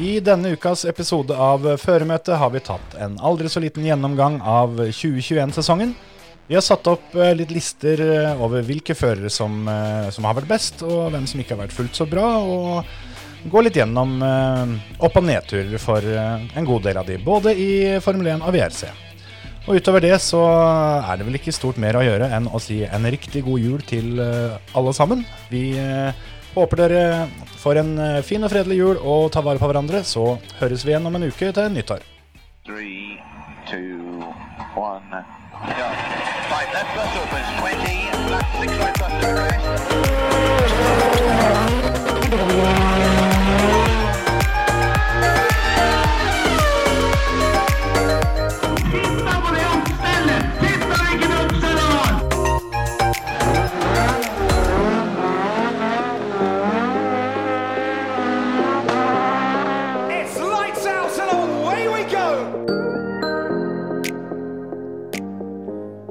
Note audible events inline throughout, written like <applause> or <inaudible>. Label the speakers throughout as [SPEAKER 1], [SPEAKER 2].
[SPEAKER 1] I denne ukas episode av Føremøtet har vi tatt en aldri så liten gjennomgang av 2021-sesongen. Vi har satt opp eh, litt lister eh, over hvilke førere som, eh, som har vært best, og hvem som ikke har vært fullt så bra, og gå litt gjennom eh, opp- og nedturer for eh, en god del av de, både i Formel 1 og VRC. Og utover det så er det vel ikke stort mer å gjøre enn å si en riktig god jul til eh, alle sammen. Vi eh, håper dere får en eh, fin og fredelig jul og tar vare på hverandre. Så høres vi igjen om en uke til nyttår.
[SPEAKER 2] Three, two, one, go. Right, left bus opens 20, left six right bus to arrest.
[SPEAKER 3] It's lights out and away we go!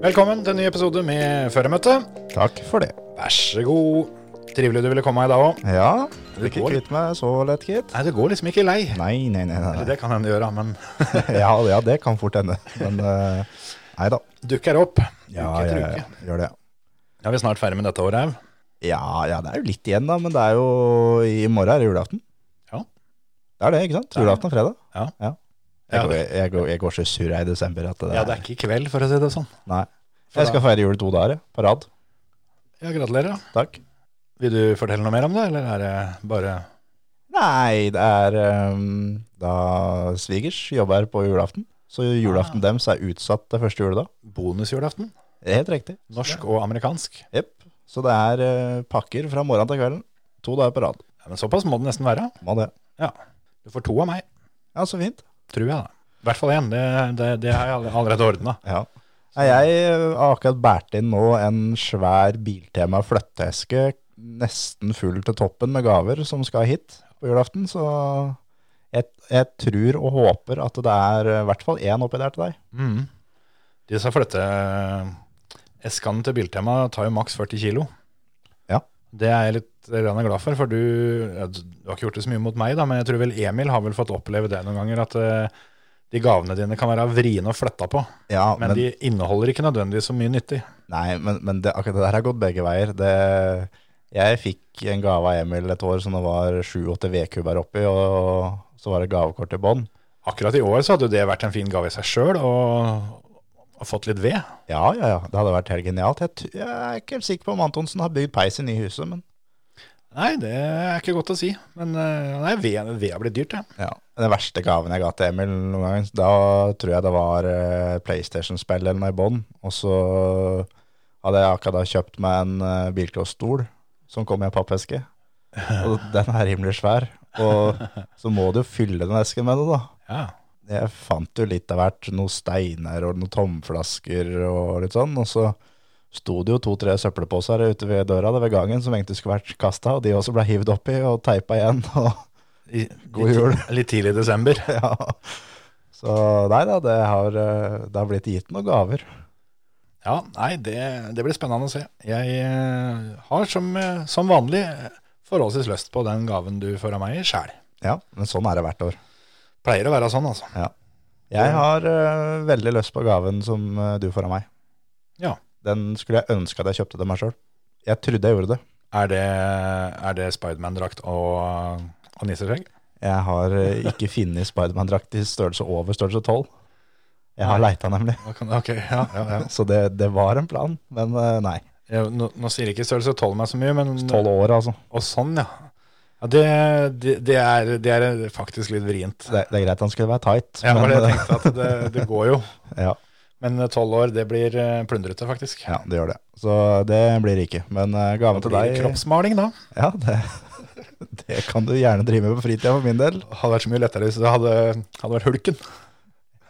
[SPEAKER 1] Velkommen til en ny episode med Føremøte.
[SPEAKER 4] Takk for det.
[SPEAKER 1] Vær så god. Trivelig du ville komme i dag òg.
[SPEAKER 4] Ja, blir ikke
[SPEAKER 1] går.
[SPEAKER 4] kvitt meg så lett, gitt.
[SPEAKER 1] Nei, det går liksom ikke lei.
[SPEAKER 4] Nei, nei, nei. nei,
[SPEAKER 1] Eller
[SPEAKER 4] nei.
[SPEAKER 1] Det kan hende gjøre, men <laughs>
[SPEAKER 4] Ja, ja, det kan fort hende. Men eh, nei da.
[SPEAKER 1] dukker opp
[SPEAKER 4] Ja,
[SPEAKER 1] uke etter
[SPEAKER 4] ja, ja,
[SPEAKER 1] uke.
[SPEAKER 4] gjør det. ja.
[SPEAKER 1] Ja, vi er snart ferdig med dette året òg.
[SPEAKER 4] Ja, ja, det er jo litt igjen, da, men det er jo i morgen er det julaften.
[SPEAKER 1] Ja.
[SPEAKER 4] Det er det, ikke sant?
[SPEAKER 1] er det.
[SPEAKER 4] Julaften og fredag.
[SPEAKER 1] Ja.
[SPEAKER 4] Jeg,
[SPEAKER 1] Ja,
[SPEAKER 4] går, jeg, går, jeg går så sur jeg i desember at det,
[SPEAKER 1] Ja, det er ikke i kveld, for å si det sånn.
[SPEAKER 4] Nei. Jeg skal feire jul to dager jeg, på rad.
[SPEAKER 1] Ja, Gratulerer. da.
[SPEAKER 4] Takk.
[SPEAKER 1] Vil du fortelle noe mer om det, eller er det bare
[SPEAKER 4] Nei, det er ehm, da svigers jobber på julaften. Så
[SPEAKER 1] Ah.
[SPEAKER 4] julaften deres er utsatt til første juledag.
[SPEAKER 1] bonusjulaften?
[SPEAKER 4] Det er Helt riktig.
[SPEAKER 1] Norsk og amerikansk.
[SPEAKER 4] Jepp. Så det er eh, pakker fra morgenen til kvelden. To dager på rad.
[SPEAKER 1] Ja, men Såpass må det nesten være.
[SPEAKER 4] Må det.
[SPEAKER 1] Ja. Du får to av meg,
[SPEAKER 4] Ja, så fint.
[SPEAKER 1] tror jeg. da. I hvert fall én. Det, det, det har jeg alle- allerede ordna.
[SPEAKER 4] Ja. Nei, Jeg eh, har akkurat båret inn nå en svær Biltema flytteeske, nesten full til toppen med gaver som skal hit på julaften. Så jeg, jeg tror og håper at det er eh, i hvert fall én oppi der til deg.
[SPEAKER 1] Mm. De som flytter eskene til Biltema, tar jo maks 40 kilo.
[SPEAKER 4] Ja.
[SPEAKER 1] Det er jeg litt grann glad for, for du, ja, du du har ikke gjort det så mye mot meg, da, men jeg tror vel Emil har vel fått oppleve det noen ganger, at eh, de gavene dine kan være vriene å flytte på,
[SPEAKER 4] Ja,
[SPEAKER 1] men, de inneholder ikke nødvendigvis så mye nyttig.
[SPEAKER 4] Nei, men, men det, akkurat det der har gått begge veier. Det, jeg fikk en gave av Emil et år som det var 7-8 vedkubber oppi, og så var det gavekort i bånn.
[SPEAKER 1] Akkurat i år så hadde jo det vært en fin gave i seg sjøl, og, og fått litt ved.
[SPEAKER 4] Ja, ja, ja. Det hadde vært helt genialt. Jeg, t- jeg er ikke helt sikker på om Antonsen har bygd peis inn i huset, men
[SPEAKER 1] Nei, det er ikke godt å si, men eh, nei, ved, ved har blitt dyrt, ja.
[SPEAKER 4] ja. Den verste gaven jeg ga til Emil noen gang, da tror jeg det var eh, PlayStation-spill eller noe i bånn. Og så hadde jeg akkurat da kjøpt meg en eh, bilcrossstol som kom i en pappeske. Og den er rimelig svær. Og så må du jo fylle den esken med det, da.
[SPEAKER 1] ja.
[SPEAKER 4] jeg fant jo litt av hvert, noen steiner og noen tomflasker og litt sånn, og så sto det jo to-tre søppelposer ute ved døra det ved gangen som egentlig skulle vært kasta, og de også ble hivd oppi og teipa igjen. <laughs> Og,
[SPEAKER 1] I,
[SPEAKER 4] God
[SPEAKER 1] litt-
[SPEAKER 4] jul. <laughs>
[SPEAKER 1] Litt tidlig i desember.
[SPEAKER 4] ja. Så nei da, det har, eh, det har blitt gitt noen gaver.
[SPEAKER 1] Ja, nei, det, det blir spennende å se. Jeg eh, har som, eh, som vanlig forholdsvis lyst på den gaven du får av meg sjæl.
[SPEAKER 4] Ja, men sånn er det hvert år.
[SPEAKER 1] Pleier å være sånn, altså.
[SPEAKER 4] Jeg har eh, veldig lyst på gaven som eh, du får av meg.
[SPEAKER 1] Ja.
[SPEAKER 4] Den skulle jeg ønske at jeg kjøpte til meg sjøl. Jeg trodde jeg gjorde det.
[SPEAKER 1] Er det, er det Spiderman-drakt og, og nisseskjegg?
[SPEAKER 4] Jeg har eh, ikke funnet Spiderman-drakt i størrelse over størrelse 12. Jeg har leita, nemlig.
[SPEAKER 1] Hva kan- Ok, ja, ja, ja.
[SPEAKER 4] <laughs> Så det, det var en plan, men eh, nei.
[SPEAKER 1] Jeg, nå, nå sier ikke størrelse 12 meg så mye, men
[SPEAKER 4] 12 år, altså.
[SPEAKER 1] Og sånn, ja. ja det, det, det, er, det er faktisk litt vrient.
[SPEAKER 4] Det, det er greit han skulle være tight.
[SPEAKER 1] Ja,
[SPEAKER 4] men,
[SPEAKER 1] for jeg
[SPEAKER 4] eh,
[SPEAKER 1] tenkte at det, det går jo.
[SPEAKER 4] <laughs> ja,
[SPEAKER 1] Men tolv år, det blir eh, plundrete, faktisk.
[SPEAKER 4] ja, det gjør det. Så det blir ikke. Men eh, gaven
[SPEAKER 1] Det
[SPEAKER 4] til
[SPEAKER 1] blir
[SPEAKER 4] deg
[SPEAKER 1] kroppsmaling, da.
[SPEAKER 4] <laughs> Ja, det, <laughs> det kan du gjerne drive med på fritida for min del.
[SPEAKER 1] hadde vært så mye lettere hvis det hadde, hadde vært hulken.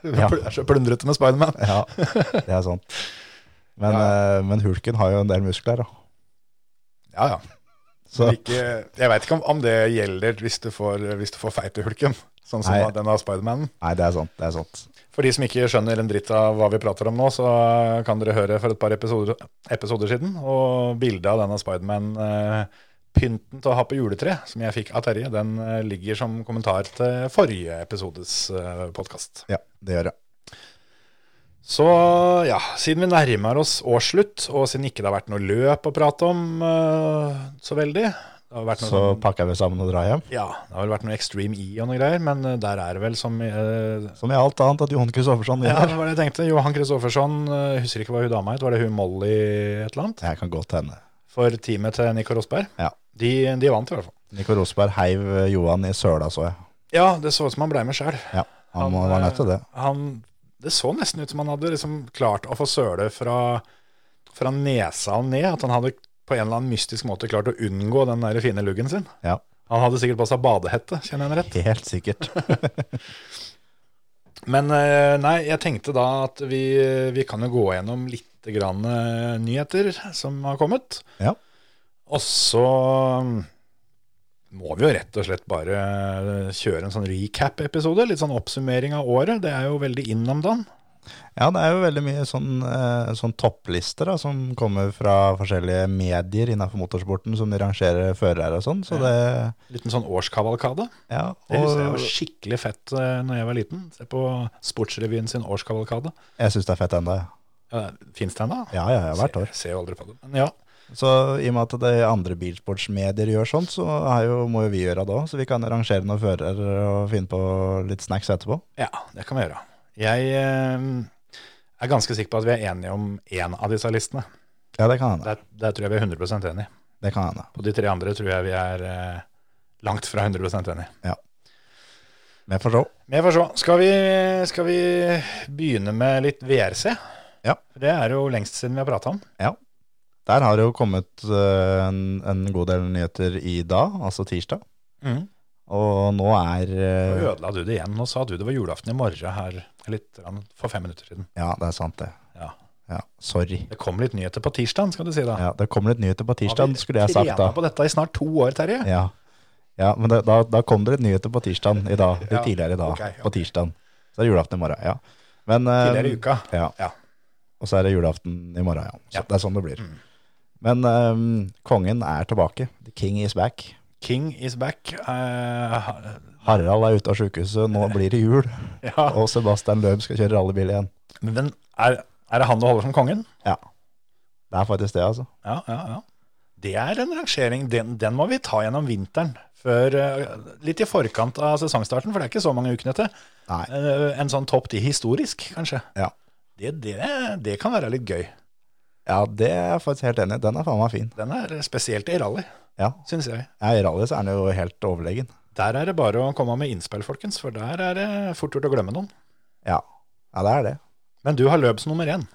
[SPEAKER 4] Ja.
[SPEAKER 1] Det er så plundrete med Spiderman.
[SPEAKER 4] Ja, det er sant. Men, eh, men hulken har jo en del muskler, da.
[SPEAKER 1] Ja, ja.
[SPEAKER 4] Så
[SPEAKER 1] Ikke, jeg veit ikke om, om det gjelder hvis du får, hvis du får feite hulken, sånn som
[SPEAKER 4] Nei.
[SPEAKER 1] den av Spidermanen.
[SPEAKER 4] nei, det er sant. Det er sant.
[SPEAKER 1] For de som ikke skjønner en dritt av hva vi prater om nå, så kan dere høre for et par episoder, episoder siden, og bildet av denne Spiderman eh, pynten til å ha på juletre, som jeg fikk av Terje, den eh, ligger som kommentar til forrige episodes eh, podkast.
[SPEAKER 4] Ja, det gjør jeg.
[SPEAKER 1] Så ja, siden vi nærmer oss årsslutt, og siden ikke det har vært noe løp å prate om eh, så veldig det har vært noe
[SPEAKER 4] Så
[SPEAKER 1] sånn-
[SPEAKER 4] pakker vi sammen og drar hjem.
[SPEAKER 1] ja, det har vel vært noe Extreme E og noe greier, men eh, der er det vel som eh,
[SPEAKER 4] Som i alt annet at Johan Kristoffersson
[SPEAKER 1] Ja,
[SPEAKER 4] gjør.
[SPEAKER 1] det var det jeg tenkte. Johan Kristoffersson, eh, husker ikke hva hun dama het, var det hun Molly et eller annet?
[SPEAKER 4] Det her kan godt hende.
[SPEAKER 1] For teamet til Nico Rosberg.
[SPEAKER 4] Ja.
[SPEAKER 1] De, de vant i hvert fall.
[SPEAKER 4] Nico Rosberg heiv eh, Johan i søla, så jeg.
[SPEAKER 1] Ja, det så ut som han ble med sjøl.
[SPEAKER 4] Ja, han,
[SPEAKER 1] Han, eh,
[SPEAKER 4] han var nødt til det.
[SPEAKER 1] han Det så nesten ut som han hadde liksom klart å få søle fra, fra nesa og ned. At han hadde på en eller annen mystisk måte klart å unngå den der fine luggen sin.
[SPEAKER 4] Ja,
[SPEAKER 1] Han hadde sikkert på seg badehette, kjenner jeg rett.
[SPEAKER 4] Helt sikkert.
[SPEAKER 1] Men eh, nei, jeg tenkte da at vi, vi kan jo gå gjennom litt grann eh, nyheter som har kommet.
[SPEAKER 4] Ja.
[SPEAKER 1] Og så mm, må vi jo rett og slett bare kjøre en sånn recap-episode. Litt sånn oppsummering av året. Det er jo veldig in om dagen.
[SPEAKER 4] Ja, det er jo veldig mye sånn, eh, sånn topplister da, som kommer fra forskjellige medier innenfor motorsporten, som de rangerer førere og sånn. Så det
[SPEAKER 1] Liten sånn årskavalkade.
[SPEAKER 4] Ja.
[SPEAKER 1] Det husker jeg
[SPEAKER 4] Og
[SPEAKER 1] var skikkelig fett eh, når jeg var liten. Se på Sportsrevyen sin årskavalkade.
[SPEAKER 4] jeg syns det er fett enda, ja.
[SPEAKER 1] Fins det ennå?
[SPEAKER 4] Ja, ja, ja, hvert år.
[SPEAKER 1] Ser, ser jo aldri på det. Men ja.
[SPEAKER 4] Så i og med at de andre bilsportsmedier gjør sånt, så er jo, må jo vi gjøre det òg. Så vi kan rangere noen førere og finne på litt snacks etterpå.
[SPEAKER 1] ja, det kan vi gjøre. Jeg eh, er ganske sikker på at vi er enige om én av disse listene.
[SPEAKER 4] Ja, det kan hende.
[SPEAKER 1] Der, der tror jeg vi er 100 enige.
[SPEAKER 4] Det kan hende.
[SPEAKER 1] På de tre andre tror jeg vi er eh, langt fra 100 enige.
[SPEAKER 4] Men jeg får se.
[SPEAKER 1] Men jeg får se. Skal vi, skal vi begynne med litt VRC?
[SPEAKER 4] Ja.
[SPEAKER 1] For Det er jo lengst siden vi har prata om.
[SPEAKER 4] Der har det jo kommet eh, en, en god del nyheter i dag, altså tirsdag.
[SPEAKER 1] Mm.
[SPEAKER 4] Og nå er
[SPEAKER 1] Nå
[SPEAKER 4] eh,
[SPEAKER 1] ødela du det igjen. Nå sa du det var julaften i morgen her litt grann for fem minutter siden.
[SPEAKER 4] Ja, det er sant, det.
[SPEAKER 1] Ja.
[SPEAKER 4] Ja, sorry.
[SPEAKER 1] Det kom litt nyheter på tirsdagen, skal du si da.
[SPEAKER 4] Ja, det kommer litt nyheter på tirsdag, skulle
[SPEAKER 1] Har
[SPEAKER 4] jeg
[SPEAKER 1] vi
[SPEAKER 4] sagt da.
[SPEAKER 1] trena på dette i snart to år, Terje?
[SPEAKER 4] Ja, ja men det, da, da kom det litt nyheter på tirsdag i dag. Litt
[SPEAKER 1] Ja,
[SPEAKER 4] tidligere i dag.
[SPEAKER 1] ok, ok.
[SPEAKER 4] På tirsdag. Så er det julaften i morgen, ja. Men, eh,
[SPEAKER 1] Tidligere i uka.
[SPEAKER 4] Ja.
[SPEAKER 1] Ja.
[SPEAKER 4] Og så er det julaften i morgen, ja. Så
[SPEAKER 1] Ja. Mm.
[SPEAKER 4] det er sånn det blir. Men eh, kongen er tilbake. The king is back.
[SPEAKER 1] King is back. Eh,
[SPEAKER 4] Harald er ute av sykehuset,
[SPEAKER 1] <laughs>
[SPEAKER 4] nå blir det jul.
[SPEAKER 1] ja.
[SPEAKER 4] Og Sebastian Løb skal kjøre rallybil igjen.
[SPEAKER 1] Men er, er det han du holder som kongen?
[SPEAKER 4] Ja. Det er faktisk det, altså.
[SPEAKER 1] Ja, ja, ja. Det er en rangering. Den, den må vi ta gjennom vinteren. Før, eh, litt i forkant av sesongstarten, for det er ikke så mange ukene til.
[SPEAKER 4] Nei.
[SPEAKER 1] Eh, en sånn topp ti historisk, kanskje.
[SPEAKER 4] Ja.
[SPEAKER 1] Det, det, det kan være litt gøy.
[SPEAKER 4] Ja, det er jeg faktisk helt enig i. Den er faen meg fin.
[SPEAKER 1] Den er spesielt i rally,
[SPEAKER 4] Ja.
[SPEAKER 1] syns jeg.
[SPEAKER 4] ja, I rally så er den jo helt overlegen.
[SPEAKER 1] Der er det bare å komme med innspill, folkens, for der er det fort gjort å glemme noen.
[SPEAKER 4] Ja. ja, det er det.
[SPEAKER 1] Men du har løps nummer én.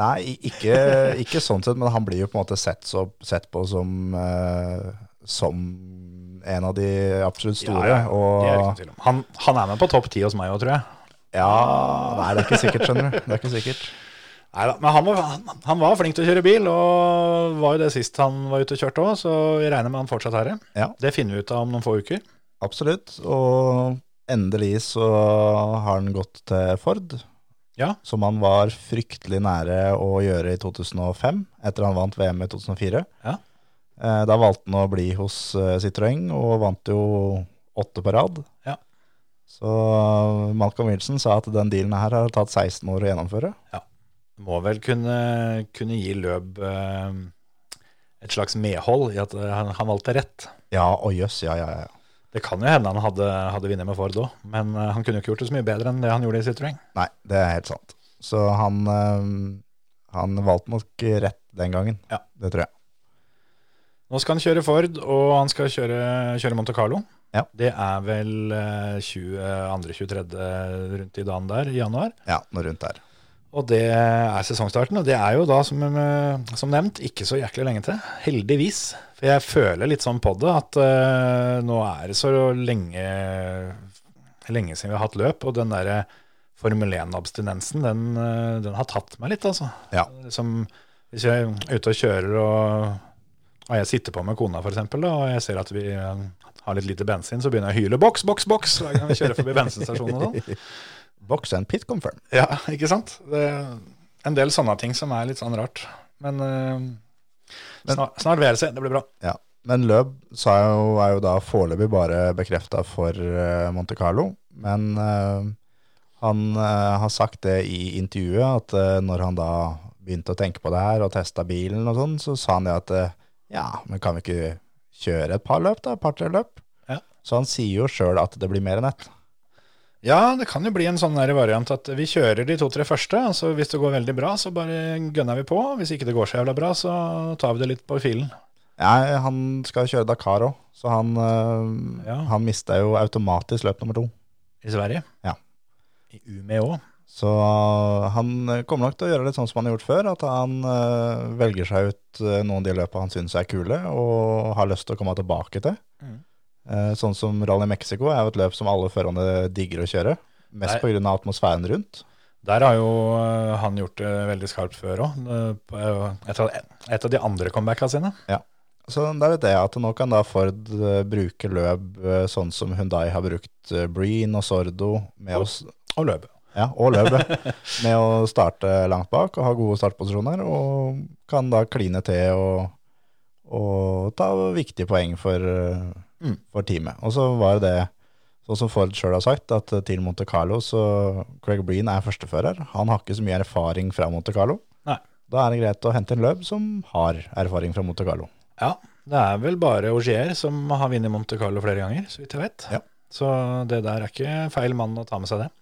[SPEAKER 4] Nei, i-
[SPEAKER 1] <laughs>
[SPEAKER 4] ikke, ikke sånn sett, men han blir jo på en måte sett, så, sett på som, eh, som en av de absolutt store.
[SPEAKER 1] Ja, ja, Det er det ikke noe
[SPEAKER 4] Og,
[SPEAKER 1] tvil om. Han, han er med på topp ti hos meg òg, tror jeg.
[SPEAKER 4] ja, nei, det er ikke sikkert, skjønner du. Det er ikke sikkert.
[SPEAKER 1] Neida, men han var, han, han var flink til å kjøre bil, og var jo det sist han var ute og kjørte òg, så vi regner med han fortsatt her.
[SPEAKER 4] Ja.
[SPEAKER 1] Det finner vi ut av om noen få uker.
[SPEAKER 4] Absolutt. Og endelig så har han gått til Ford.
[SPEAKER 1] Ja.
[SPEAKER 4] Som han var fryktelig nære å gjøre i 2005, etter han vant VM i 2004.
[SPEAKER 1] Ja.
[SPEAKER 4] Eh, Da valgte han å bli hos eh, Citroën, og vant jo åtte på rad.
[SPEAKER 1] Ja.
[SPEAKER 4] Så eh, Malcolm Wilson sa at den dealen her har tatt 16 år å gjennomføre.
[SPEAKER 1] Må vel kunne, kunne gi Løb eh, et slags medhold i at eh, han, han valgte rett.
[SPEAKER 4] Ja, og jøss, ja, ja, ja.
[SPEAKER 1] Det kan jo hende han hadde, hadde vunnet med Ford òg, men eh, han kunne jo ikke gjort det så mye bedre enn det han gjorde i Citroën.
[SPEAKER 4] Nei, det er helt sant. Så han, eh, han valgte nok rett den gangen.
[SPEAKER 1] Ja.
[SPEAKER 4] Det tror jeg.
[SPEAKER 1] Nå skal han kjøre Ford, og han skal kjøre, kjøre Monte Carlo.
[SPEAKER 4] Ja.
[SPEAKER 1] Det er vel eh, 22.-23. rundt i dagen der, i januar.
[SPEAKER 4] Ja, noe rundt der.
[SPEAKER 1] Og det er sesongstarten, og det er jo da, som, eh, som nevnt, ikke så jæklig lenge til. Heldigvis. For jeg føler litt sånn på det, at eh, nå er det så lenge, lenge siden vi har hatt løp, og den derre Formel 1-abstinensen, den, eh, den har tatt meg litt, altså.
[SPEAKER 4] Ja.
[SPEAKER 1] Liksom, hvis jeg er ute og kjører og, og jeg sitter på med kona for eksempel, da, og jeg ser at vi eh, har litt lite bensin, så begynner jeg å hyle boks, boks, boks, hver gang vi kjører forbi bensinstasjonen og sånn.
[SPEAKER 4] <laughs> Box and pit confirm.
[SPEAKER 1] Ja, ikke sant? Det er en del sånne ting som er litt sånn rart. Men, eh, snar- snart, VRC, det blir bra.
[SPEAKER 4] Ja. Men løp sa jeg jo, er jo da foreløpig bare bekrefta for eh, Monte Carlo. Men eh, han eh, har sagt det i intervjuet, at eh, når han da begynte å tenke på det her og testa bilen og sånn, så sa han det at eh, ja, men kan vi ikke kjøre et par løp, da? Et par-tre løp?
[SPEAKER 1] Ja.
[SPEAKER 4] Så han sier jo sjøl at det blir mer enn ett.
[SPEAKER 1] Ja, det kan jo bli en sånn der variant at vi kjører de to-tre første, og så hvis det går veldig bra, så bare gønner vi på. Hvis ikke det går så jævla bra, så tar vi det litt på filen.
[SPEAKER 4] Nei, han skal kjøre Dakar òg, så han, eh,
[SPEAKER 1] Ja.
[SPEAKER 4] han mista jo automatisk løp nummer to.
[SPEAKER 1] I Sverige.
[SPEAKER 4] Ja.
[SPEAKER 1] I Umeå òg.
[SPEAKER 4] Så han kommer nok til å gjøre det sånn som han har gjort før, at han eh, velger seg ut eh, noen av de løpene han syns er kule, og har lyst til å komme tilbake til.
[SPEAKER 1] Mhm.
[SPEAKER 4] Eh, sånn som Rally Mexico er jo et løp som alle førerne digger å kjøre, mest
[SPEAKER 1] Nei.
[SPEAKER 4] pga. atmosfæren rundt.
[SPEAKER 1] Der har jo eh, han gjort det veldig skarpt før òg. Et, av- et av de andre comebacka sine.
[SPEAKER 4] Så det er litt det at nå kan da Ford eh, bruke løp eh, sånn som Hyundai har brukt eh, Breen og Sordo med å, s-
[SPEAKER 1] Og løp.
[SPEAKER 4] Ja, og løp. Med å starte langt bak og ha gode startposisjoner, og kan da kline til og, og ta viktige poeng for, eh,
[SPEAKER 1] Mm.
[SPEAKER 4] for teamet. Og så var det det, sånn som Ford sjøl har sagt, at til Monte Carlo så Craig Breen er førstefører. Han har ikke så mye erfaring fra Monte Carlo.
[SPEAKER 1] Nei.
[SPEAKER 4] Da er det greit å hente en løp som har erfaring fra Monte Carlo.
[SPEAKER 1] Ja, det er vel bare Augier som har vunnet Monte Carlo flere ganger, så vidt jeg vet.
[SPEAKER 4] Ja.
[SPEAKER 1] Så det der er ikke feil mann å ta med seg det.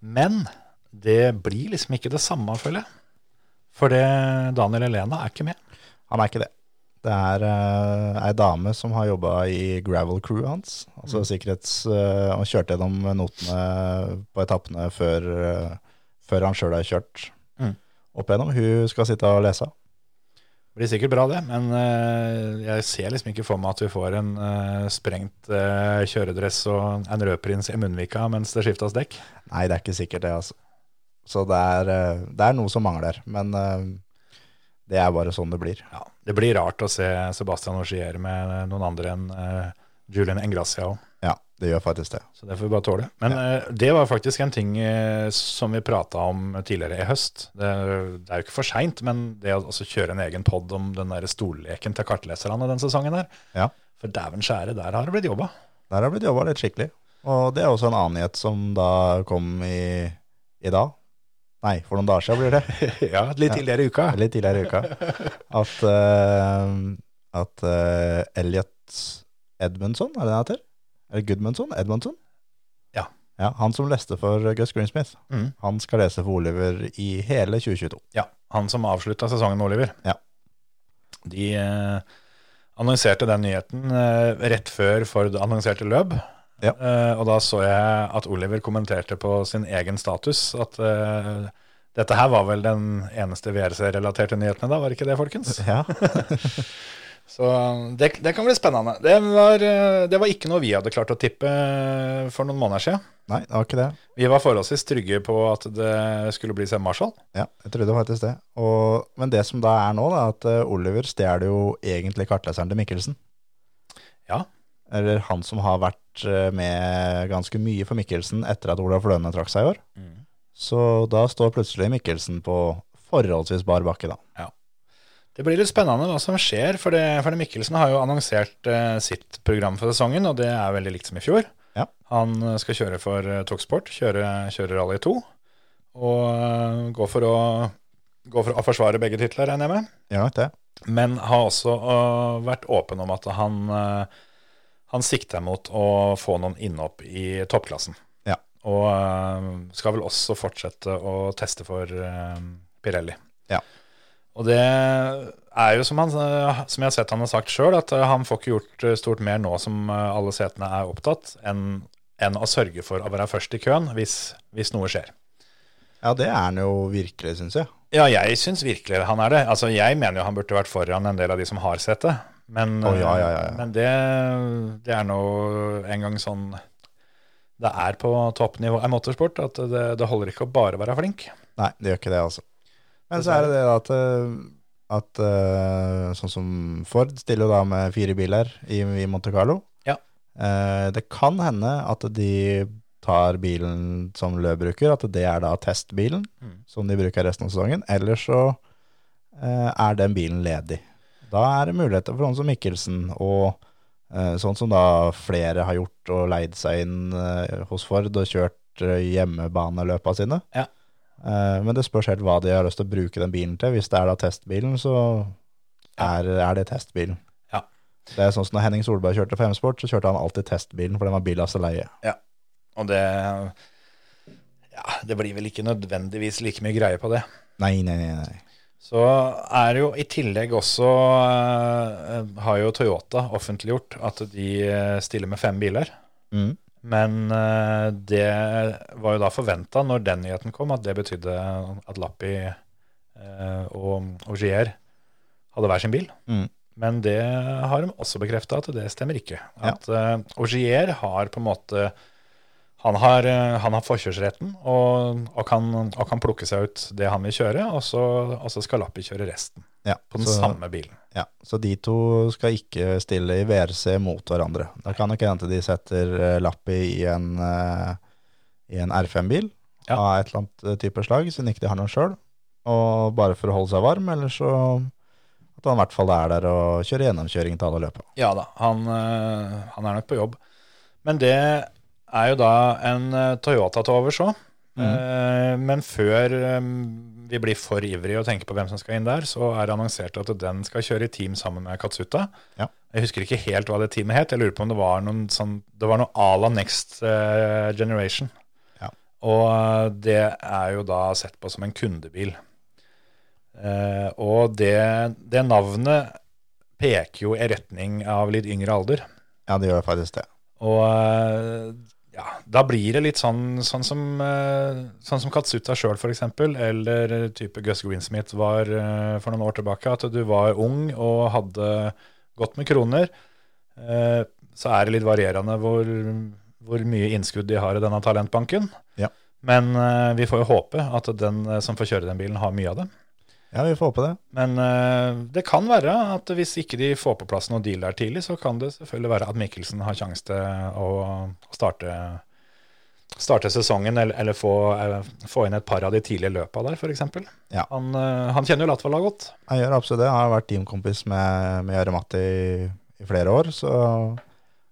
[SPEAKER 1] Men det blir liksom ikke det samme, føler jeg. For det Daniel Elena er ikke med.
[SPEAKER 4] Han er ikke det. Det er uh, ei dame som har jobba i gravel crew hans. Altså sikkerhets... eh, og kjørte gjennom notene på etappene før, eh, før han sjøl har kjørt
[SPEAKER 1] Mm.
[SPEAKER 4] opp igjennom. Hun skal sitte og lese.
[SPEAKER 1] Det blir sikkert bra, det, men eh, jeg ser liksom ikke for meg at vi får en eh, sprengt eh, kjøredress og en rødprins i Munnvika mens det skiftes dekk.
[SPEAKER 4] Nei, det er ikke sikkert det, altså. Så det er, eh, det er noe som mangler. Men eh, det er bare sånn det blir.
[SPEAKER 1] Ja, det blir rart å se Sebastian Augier med noen andre enn eh, Julian Engracia òg.
[SPEAKER 4] Ja, det gjør faktisk det.
[SPEAKER 1] Så det får vi bare tåle. Men eh, det var faktisk en ting eh, som vi prata om tidligere i høst. Det, det er jo ikke for seint, men det å altså kjøre en egen pod om den der stolleken til kartleserne den sesongen der
[SPEAKER 4] Ja.
[SPEAKER 1] For dæven skjære, der har det blitt jobba.
[SPEAKER 4] Der har det blitt jobba litt skikkelig. Og det er også en annen nyhet som da kom i, i dag. Nei, for noen dager siden blir det.
[SPEAKER 1] <laughs> ja, litt tidligere i uka.
[SPEAKER 4] litt tidligere i uka, at, eh, at eh, Elliot Edmundson, er det det han heter? Eller Goodmundson? Edmundson?
[SPEAKER 1] Ja.
[SPEAKER 4] ja. Han som leste for Gus Greensmith.
[SPEAKER 1] Mm.
[SPEAKER 4] Han skal lese for Oliver i hele 2022.
[SPEAKER 1] Ja, han som avslutta sesongen med Oliver.
[SPEAKER 4] Ja.
[SPEAKER 1] De eh, annonserte den nyheten eh, rett før Ford annonserte løp.
[SPEAKER 4] Ja.
[SPEAKER 1] Eh, og da så jeg at Oliver kommenterte på sin egen status at eh, dette her var vel den eneste VRC-relaterte nyheten da, var ikke det, folkens?
[SPEAKER 4] Ja,
[SPEAKER 1] Så eh, det, det kan bli spennende. Det var, eh, det var ikke noe vi hadde klart å tippe eh, for noen måneder siden.
[SPEAKER 4] Nei, det var ikke det.
[SPEAKER 1] Vi var forholdsvis trygge på at det skulle bli Sam Marshall.
[SPEAKER 4] Ja, jeg trodde faktisk det. Og, men det som da er nå, da, at eh, Oliver stjeler jo egentlig kartleseren til Mikkelsen.
[SPEAKER 1] Ja.
[SPEAKER 4] Eller han som har vært eh, med ganske mye for Mikkelsen etter at Olav Lønne trakk seg i år.
[SPEAKER 1] Mm.
[SPEAKER 4] Så da står plutselig Mikkelsen på forholdsvis bar bakke, da.
[SPEAKER 1] Det blir litt spennende hva som skjer, for, det, for det Mikkelsen har jo annonsert eh, sitt program for sesongen, og det er veldig likt som i fjor.
[SPEAKER 4] Ja.
[SPEAKER 1] Han eh, skal kjøre for eh, Toksport, kjøre, kjøre Rally 2, og eh, gå, for å, gå for å forsvare begge titler, regner jeg med.
[SPEAKER 4] Gjør nok det.
[SPEAKER 1] Men har også øh, vært åpen om at han, øh, han sikter mot å få noen innhopp i toppklassen.
[SPEAKER 4] Ja.
[SPEAKER 1] Og øh, skal vel også fortsette å teste for øh, Pirelli.
[SPEAKER 4] Ja.
[SPEAKER 1] Og det er jo som, han, øh, som jeg har sett han har sagt sjøl, at øh, han får ikke gjort øh, stort mer nå som øh, alle setene er opptatt, enn enn å sørge for å være først i køen hvis, hvis noe skjer.
[SPEAKER 4] Ja, det er han jo virkelig, syns jeg.
[SPEAKER 1] Ja, jeg syns virkelig han er det. Altså, jeg mener jo han burde vært foran en del av de som har sett det. Men, eh,
[SPEAKER 4] Å, ja, ja, ja, ja.
[SPEAKER 1] men det, det er nå en gang sånn det er på toppnivå i motorsport at det, det holder ikke å bare være flink.
[SPEAKER 4] Nei, det gjør ikke det, altså. Men så er det det da at, eh, at eh, sånn som Ford stiller jo da med fire biler i, i Monte Carlo.
[SPEAKER 1] Ja.
[SPEAKER 4] Eh, det kan hende at de tar bilen som Lø bruker, at det er da testbilen
[SPEAKER 1] Mm.
[SPEAKER 4] som de bruker resten av sesongen. Eller så eh, er den bilen ledig Da er det muligheter for sånn som Mikkelsen, og eh, sånn som da flere har gjort og leid seg inn eh, hos Ford og kjørt eh, hjemmebaneløpa sine.
[SPEAKER 1] Ja.
[SPEAKER 4] Eh, men det spørs helt hva de har lyst til å bruke den bilen til. Hvis det er da testbilen, så er, er det testbilen.
[SPEAKER 1] Ja.
[SPEAKER 4] Det er sånn som når Henning Solberg kjørte for M-Sport, så kjørte han alltid testbilen, for den var bilen hans til leie.
[SPEAKER 1] Og det Ja, det blir vel ikke nødvendigvis like mye greie på det.
[SPEAKER 4] Nei, nei, nei. nei.
[SPEAKER 1] Så er det jo i tillegg også eh, Har jo Toyota offentliggjort at de eh, stiller med fem biler.
[SPEAKER 4] Mm.
[SPEAKER 1] Men eh, det var jo da forventa når den nyheten kom, at det betydde at Lappi eh, og Augier hadde hver sin bil.
[SPEAKER 4] Mm.
[SPEAKER 1] Men det har de også bekrefta at det stemmer ikke. At eh, Augier har på en måte han har, eh, han har forkjørsretten og, og, kan, og kan plukke seg ut det han vil kjøre, og så, og så skal Lappi kjøre resten
[SPEAKER 4] Ja,
[SPEAKER 1] på den
[SPEAKER 4] så-
[SPEAKER 1] samme bilen.
[SPEAKER 4] Ja, så de to skal ikke stille i VRC mot hverandre. Da kan det ikke hende de setter eh, Lappi i en, eh, i en R5-bil
[SPEAKER 1] Ja.
[SPEAKER 4] av et eller annet eh, type slag, siden ikke de har noen sjøl. Og bare for å holde seg varm, eller så at han i hvert fall er der og kjører gjennomkjøring til alle løpene.
[SPEAKER 1] Ja da, han, eh, han er nok på jobb. Men det er jo da en eh, Toyota til overs òg.
[SPEAKER 4] Mhm.
[SPEAKER 1] Men før eh, vi blir for ivrige og tenker på hvem som skal inn der, så er det annonsert at den skal kjøre i team sammen med Katsuta.
[SPEAKER 4] Ja.
[SPEAKER 1] Jeg husker ikke helt hva det teamet het. Jeg lurer på om det var noen sånn, det var noe à la Next eh, Generation.
[SPEAKER 4] Ja.
[SPEAKER 1] Og eh, det er jo da sett på som en kundebil. Eh, og det, det navnet peker jo i retning av litt yngre alder.
[SPEAKER 4] Ja, det gjør faktisk det.
[SPEAKER 1] Og eh, ja, da blir det litt sånn, sånn, som, eh, sånn som Katsuta sjøl, f.eks., eller type Gus Greensmith var eh, for noen år tilbake, at du var ung og hadde godt med kroner. Eh, Så er det litt varierende hvor, hvor mye innskudd de har i denne talentbanken.
[SPEAKER 4] Ja.
[SPEAKER 1] Men eh, vi får jo håpe at den eh, som får kjøre den bilen, har mye av det.
[SPEAKER 4] Ja, vi får håpe det.
[SPEAKER 1] Men eh, det kan være at hvis ikke de får på plass noen deal der tidlig, så kan det selvfølgelig være at Mikkelsen har sjanse til å å starte, starte sesongen eller, eller få, eh, få inn et par av de tidlige løpa der, f.eks.
[SPEAKER 4] Ja.
[SPEAKER 1] Han, eh, han kjenner jo Latvala godt.
[SPEAKER 4] Jeg gjør absolutt det. Jeg har vært teamkompis med, med Jøre Matti i, i flere år. Så,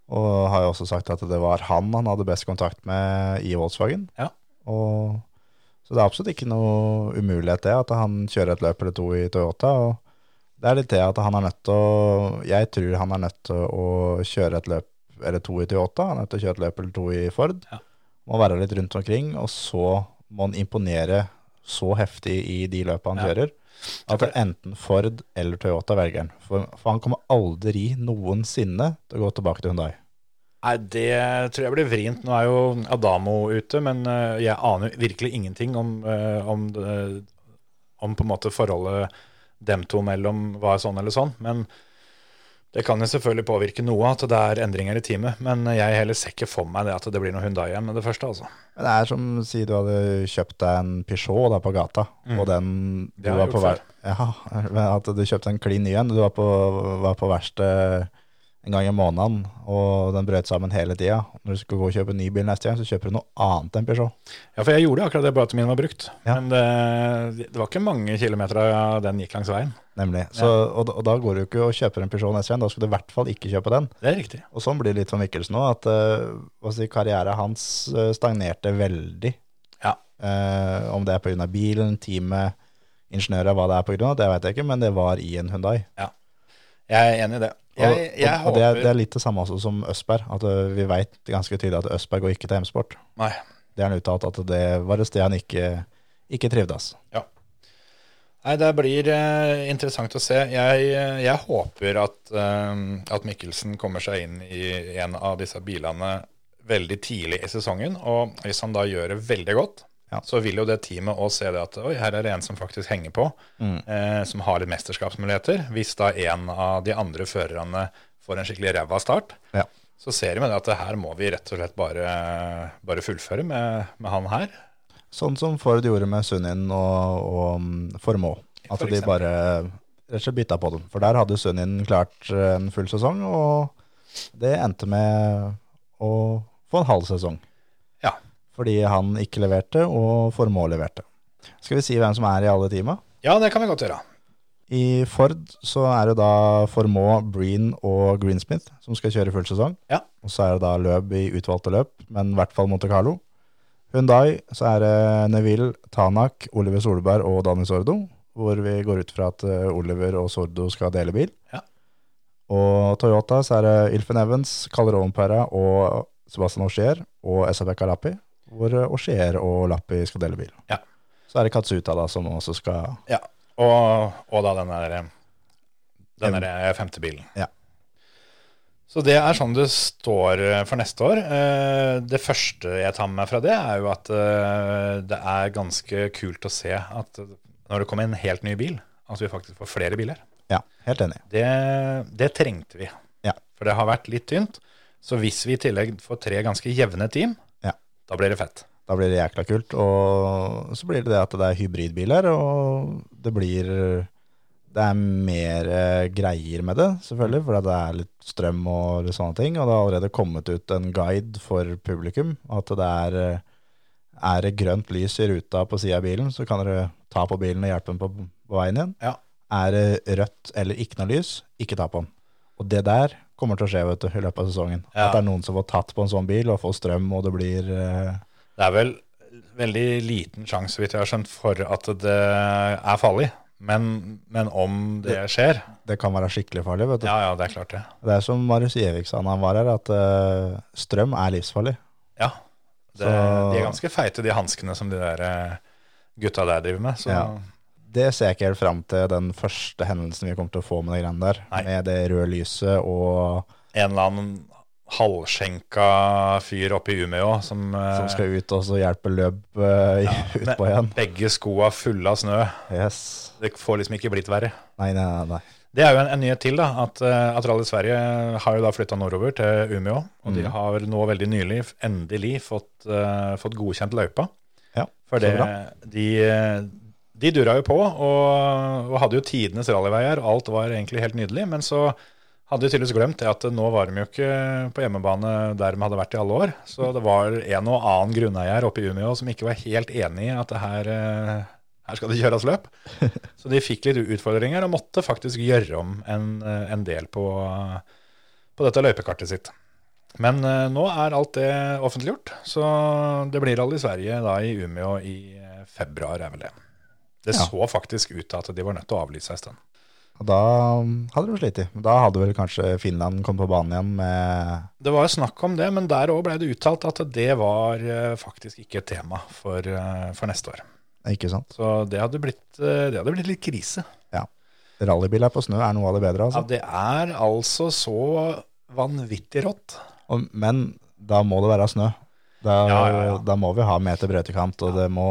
[SPEAKER 4] og har jo også sagt at det var han han hadde best kontakt med i Volkswagen.
[SPEAKER 1] Ja.
[SPEAKER 4] Og, så det er absolutt ikke noe umulighet det, at han kjører et løp eller to i Toyota. Og det er litt det at han er nødt til å Jeg tror han er nødt til å kjøre et løp eller to i Toyota. Han er nødt til å kjøre et løp eller to i Ford.
[SPEAKER 1] Ja.
[SPEAKER 4] Må være litt rundt omkring, og så må han imponere så heftig i de løpene han
[SPEAKER 1] Ja.
[SPEAKER 4] kjører. At det er enten Ford eller Toyota velger han. For, for han kommer aldri noensinne til å gå tilbake til Hyundai.
[SPEAKER 1] Nei, det tror jeg blir vrient. Nå er jo Adamo ute, men eh, jeg aner jo virkelig ingenting om, eh, om, det- om på en måte forholdet dem to mellom var sånn eller sånn. Men det kan jo selvfølgelig påvirke noe at det er endringer i teamet. Men jeg heller ser ikke for meg det at det blir noe Hyundai igjen med det første, altså.
[SPEAKER 4] Men Det er som si du hadde kjøpt deg en Peugeot da på gata, og den
[SPEAKER 1] Det
[SPEAKER 4] du
[SPEAKER 1] har
[SPEAKER 4] var
[SPEAKER 1] jeg
[SPEAKER 4] på
[SPEAKER 1] gjort
[SPEAKER 4] ver- Ja, <laughs> men at du kjøpte en klin ny en. Du var på, var på verksted en gang i måneden, og den brøt sammen hele tida. Når du skal gå og kjøpe en ny bil neste gang, så kjøper du noe annet enn Peugeot.
[SPEAKER 1] Ja, for jeg gjorde akkurat det, bare at min var brukt.
[SPEAKER 4] Ja.
[SPEAKER 1] Men det, det var ikke mange kilometer av den gikk langs veien.
[SPEAKER 4] Nemlig. Så, og, da- og da går du ikke og kjøper en Peugeot neste gang. Da skal du i hvert fall ikke kjøpe den.
[SPEAKER 1] Det er riktig.
[SPEAKER 4] Og sånn blir det litt for Mikkelsen nå, at eh, hva skal jeg si, karrieren hans eh, stagnerte veldig.
[SPEAKER 1] Ja.
[SPEAKER 4] Eh, om det er pga. bilen, teamet, ingeniører, hva det er pga., det vet jeg ikke, men det var i en Hyundai.
[SPEAKER 1] Jeg er enig i det.
[SPEAKER 4] Og,
[SPEAKER 1] Jeg, jeg
[SPEAKER 4] og, og det, er,
[SPEAKER 1] håper-
[SPEAKER 4] det er litt det samme også som Østberg, at eh, vi vet ganske tydelig at Østberg går ikke til M-sport.
[SPEAKER 1] Nei.
[SPEAKER 4] Det har han uttalt at det var et sted han ikke, ikke trivdes.
[SPEAKER 1] Nei, det blir eh, interessant å se. Jeg, eh, jeg håper at, eh, at Mikkelsen kommer seg inn i en av disse bilene veldig tidlig i sesongen. Og hvis han da gjør det veldig godt,
[SPEAKER 4] Ja.
[SPEAKER 1] så vil jo det teamet òg se det at oi, her er det en som faktisk henger på, eh, som har litt mesterskapsmuligheter. Hvis da en av de andre førerne får en skikkelig ræva start,
[SPEAKER 4] Ja.
[SPEAKER 1] så ser de jo det at det her må vi rett og slett bare, bare fullføre med, med han her.
[SPEAKER 4] Sånn som Ford gjorde med Sunnin og, og mm, Formå. At
[SPEAKER 1] For
[SPEAKER 4] de
[SPEAKER 1] eksempel.
[SPEAKER 4] bare rett og slett bytta på dem. For der hadde Sunnin klart eh, en full sesong, og det endte med å få en halv sesong.
[SPEAKER 1] Ja.
[SPEAKER 4] Fordi han ikke leverte, og Formå leverte. Skal vi si hvem som er i alle teama?
[SPEAKER 1] Ja, det kan vi godt gjøre.
[SPEAKER 4] I Ford så er det da Formaux, Breen og Greensmith som skal kjøre full sesong.
[SPEAKER 1] Ja.
[SPEAKER 4] Og så er det da løp i utvalgte løp, men i hvert fall Monte Carlo. Hyundai så er det Neville, Tanak, Oliver Solberg og Dani Sordo, hvor vi går ut fra at eh, Oliver og Sordo skal dele bil.
[SPEAKER 1] Ja.
[SPEAKER 4] Og Toyota så er det Ilfen Evans, Kalle Rovenpera og Sebastian Auxier og Esabeka Lappi, hvor eh, Auxier og Lappi skal dele bil.
[SPEAKER 1] Ja.
[SPEAKER 4] Så er det Katsuta da som også skal
[SPEAKER 1] Ja, og, og da den der, eh, den der eh, femte bilen.
[SPEAKER 4] Ja.
[SPEAKER 1] Så det er sånn det står eh, for neste år. Eh, Det første jeg tar med meg fra det, er jo at eh, det er ganske kult å se at når det kommer en helt ny bil, at vi faktisk får flere biler.
[SPEAKER 4] Ja, helt enig.
[SPEAKER 1] Det, det trengte vi.
[SPEAKER 4] Ja.
[SPEAKER 1] For det har vært litt tynt. Så hvis vi i tillegg får tre ganske jevne team,
[SPEAKER 4] Ja.
[SPEAKER 1] da blir det fett.
[SPEAKER 4] Da blir det jækla kult. Og så blir det det at det er hybridbiler, og det blir Det er mer eh, greier med det, selvfølgelig, for det er litt strøm og litt sånne ting. Og det har allerede kommet ut en guide for publikum. At det er eh, Er det grønt lys i ruta på sida av bilen, så kan dere ta på bilen og hjelpe den på, på veien igjen.
[SPEAKER 1] Ja.
[SPEAKER 4] Er det rødt eller ikke noe lys, ikke ta på den. Og det der kommer til å skje vet du, i løpet av sesongen.
[SPEAKER 1] Ja.
[SPEAKER 4] At det er noen som får tatt på en sånn bil og får strøm, og det blir eh,
[SPEAKER 1] Det er vel veldig liten sjanse, så vidt jeg har skjønt, for at det er farlig. Men, men om det skjer
[SPEAKER 4] det kan være skikkelig farlig. vet du.
[SPEAKER 1] Ja, ja, det er klart det.
[SPEAKER 4] Det er som Marius Gjevik sa da han var her, at eh, strøm er livsfarlig.
[SPEAKER 1] Ja. Det,
[SPEAKER 4] Så-
[SPEAKER 1] de er ganske feite, de hanskene som de der eh, gutta der driver med. Så
[SPEAKER 4] Ja. Det ser jeg ikke helt fram til den første hendelsen vi kommer til å få med de greiene der.
[SPEAKER 1] Nei.
[SPEAKER 4] Med det røde lyset og
[SPEAKER 1] en eller annen halvskjenka fyr oppe i Umeå som, eh,
[SPEAKER 4] som skal ut og så hjelpe løp eh, <laughs> utpå igjen.
[SPEAKER 1] Begge skoa fulle av snø.
[SPEAKER 4] Yes.
[SPEAKER 1] Det får liksom ikke blitt verre.
[SPEAKER 4] Nei, nei, nei. nei.
[SPEAKER 1] Det er jo en, en nyhet til, da, at, eh, at Rally Sverige har jo da flytta nordover til Umeå. Og de har nå veldig nylig f- endelig fått, eh, fått godkjent løypa.
[SPEAKER 4] Ja,
[SPEAKER 1] For
[SPEAKER 4] så
[SPEAKER 1] det,
[SPEAKER 4] bra.
[SPEAKER 1] de, eh, de dura jo på og, og hadde jo tidenes rallyveier. Alt var egentlig helt nydelig. Men så hadde de tydeligvis glemt det at nå var de jo ikke på hjemmebane der de hadde vært i alle år. Så det var en og annen grunneier oppe i Umeå som ikke var helt enig i at det her, eh, her skal det kjøres
[SPEAKER 4] <laughs>
[SPEAKER 1] løp. Så de fikk litt utfordringer og måtte faktisk gjøre om en, eh, en del på, på dette løypekartet sitt. Men eh, nå er alt det offentliggjort, så det blir rally i Sverige da i Umeå i eh, februar, er vel det. Det
[SPEAKER 4] Ja.
[SPEAKER 1] så faktisk ut til at de var nødt til å avlyse en stund.
[SPEAKER 4] Og da mm, hadde de slitt. Da hadde vel kanskje Finland kommet på banen igjen med
[SPEAKER 1] Det var jo snakk om det, men der òg ble det uttalt at det var eh, faktisk ikke et tema for, eh, for neste år.
[SPEAKER 4] Ikke sant?
[SPEAKER 1] Så det hadde blitt, eh, det hadde blitt litt krise.
[SPEAKER 4] Rallybiler på snø er noe av det bedre, altså.
[SPEAKER 1] Ja, det er altså så vanvittig rått.
[SPEAKER 4] Og, men da må det være snø. Da,
[SPEAKER 1] Ja, ja, ja.
[SPEAKER 4] da må vi ha meter brøytekant, og det må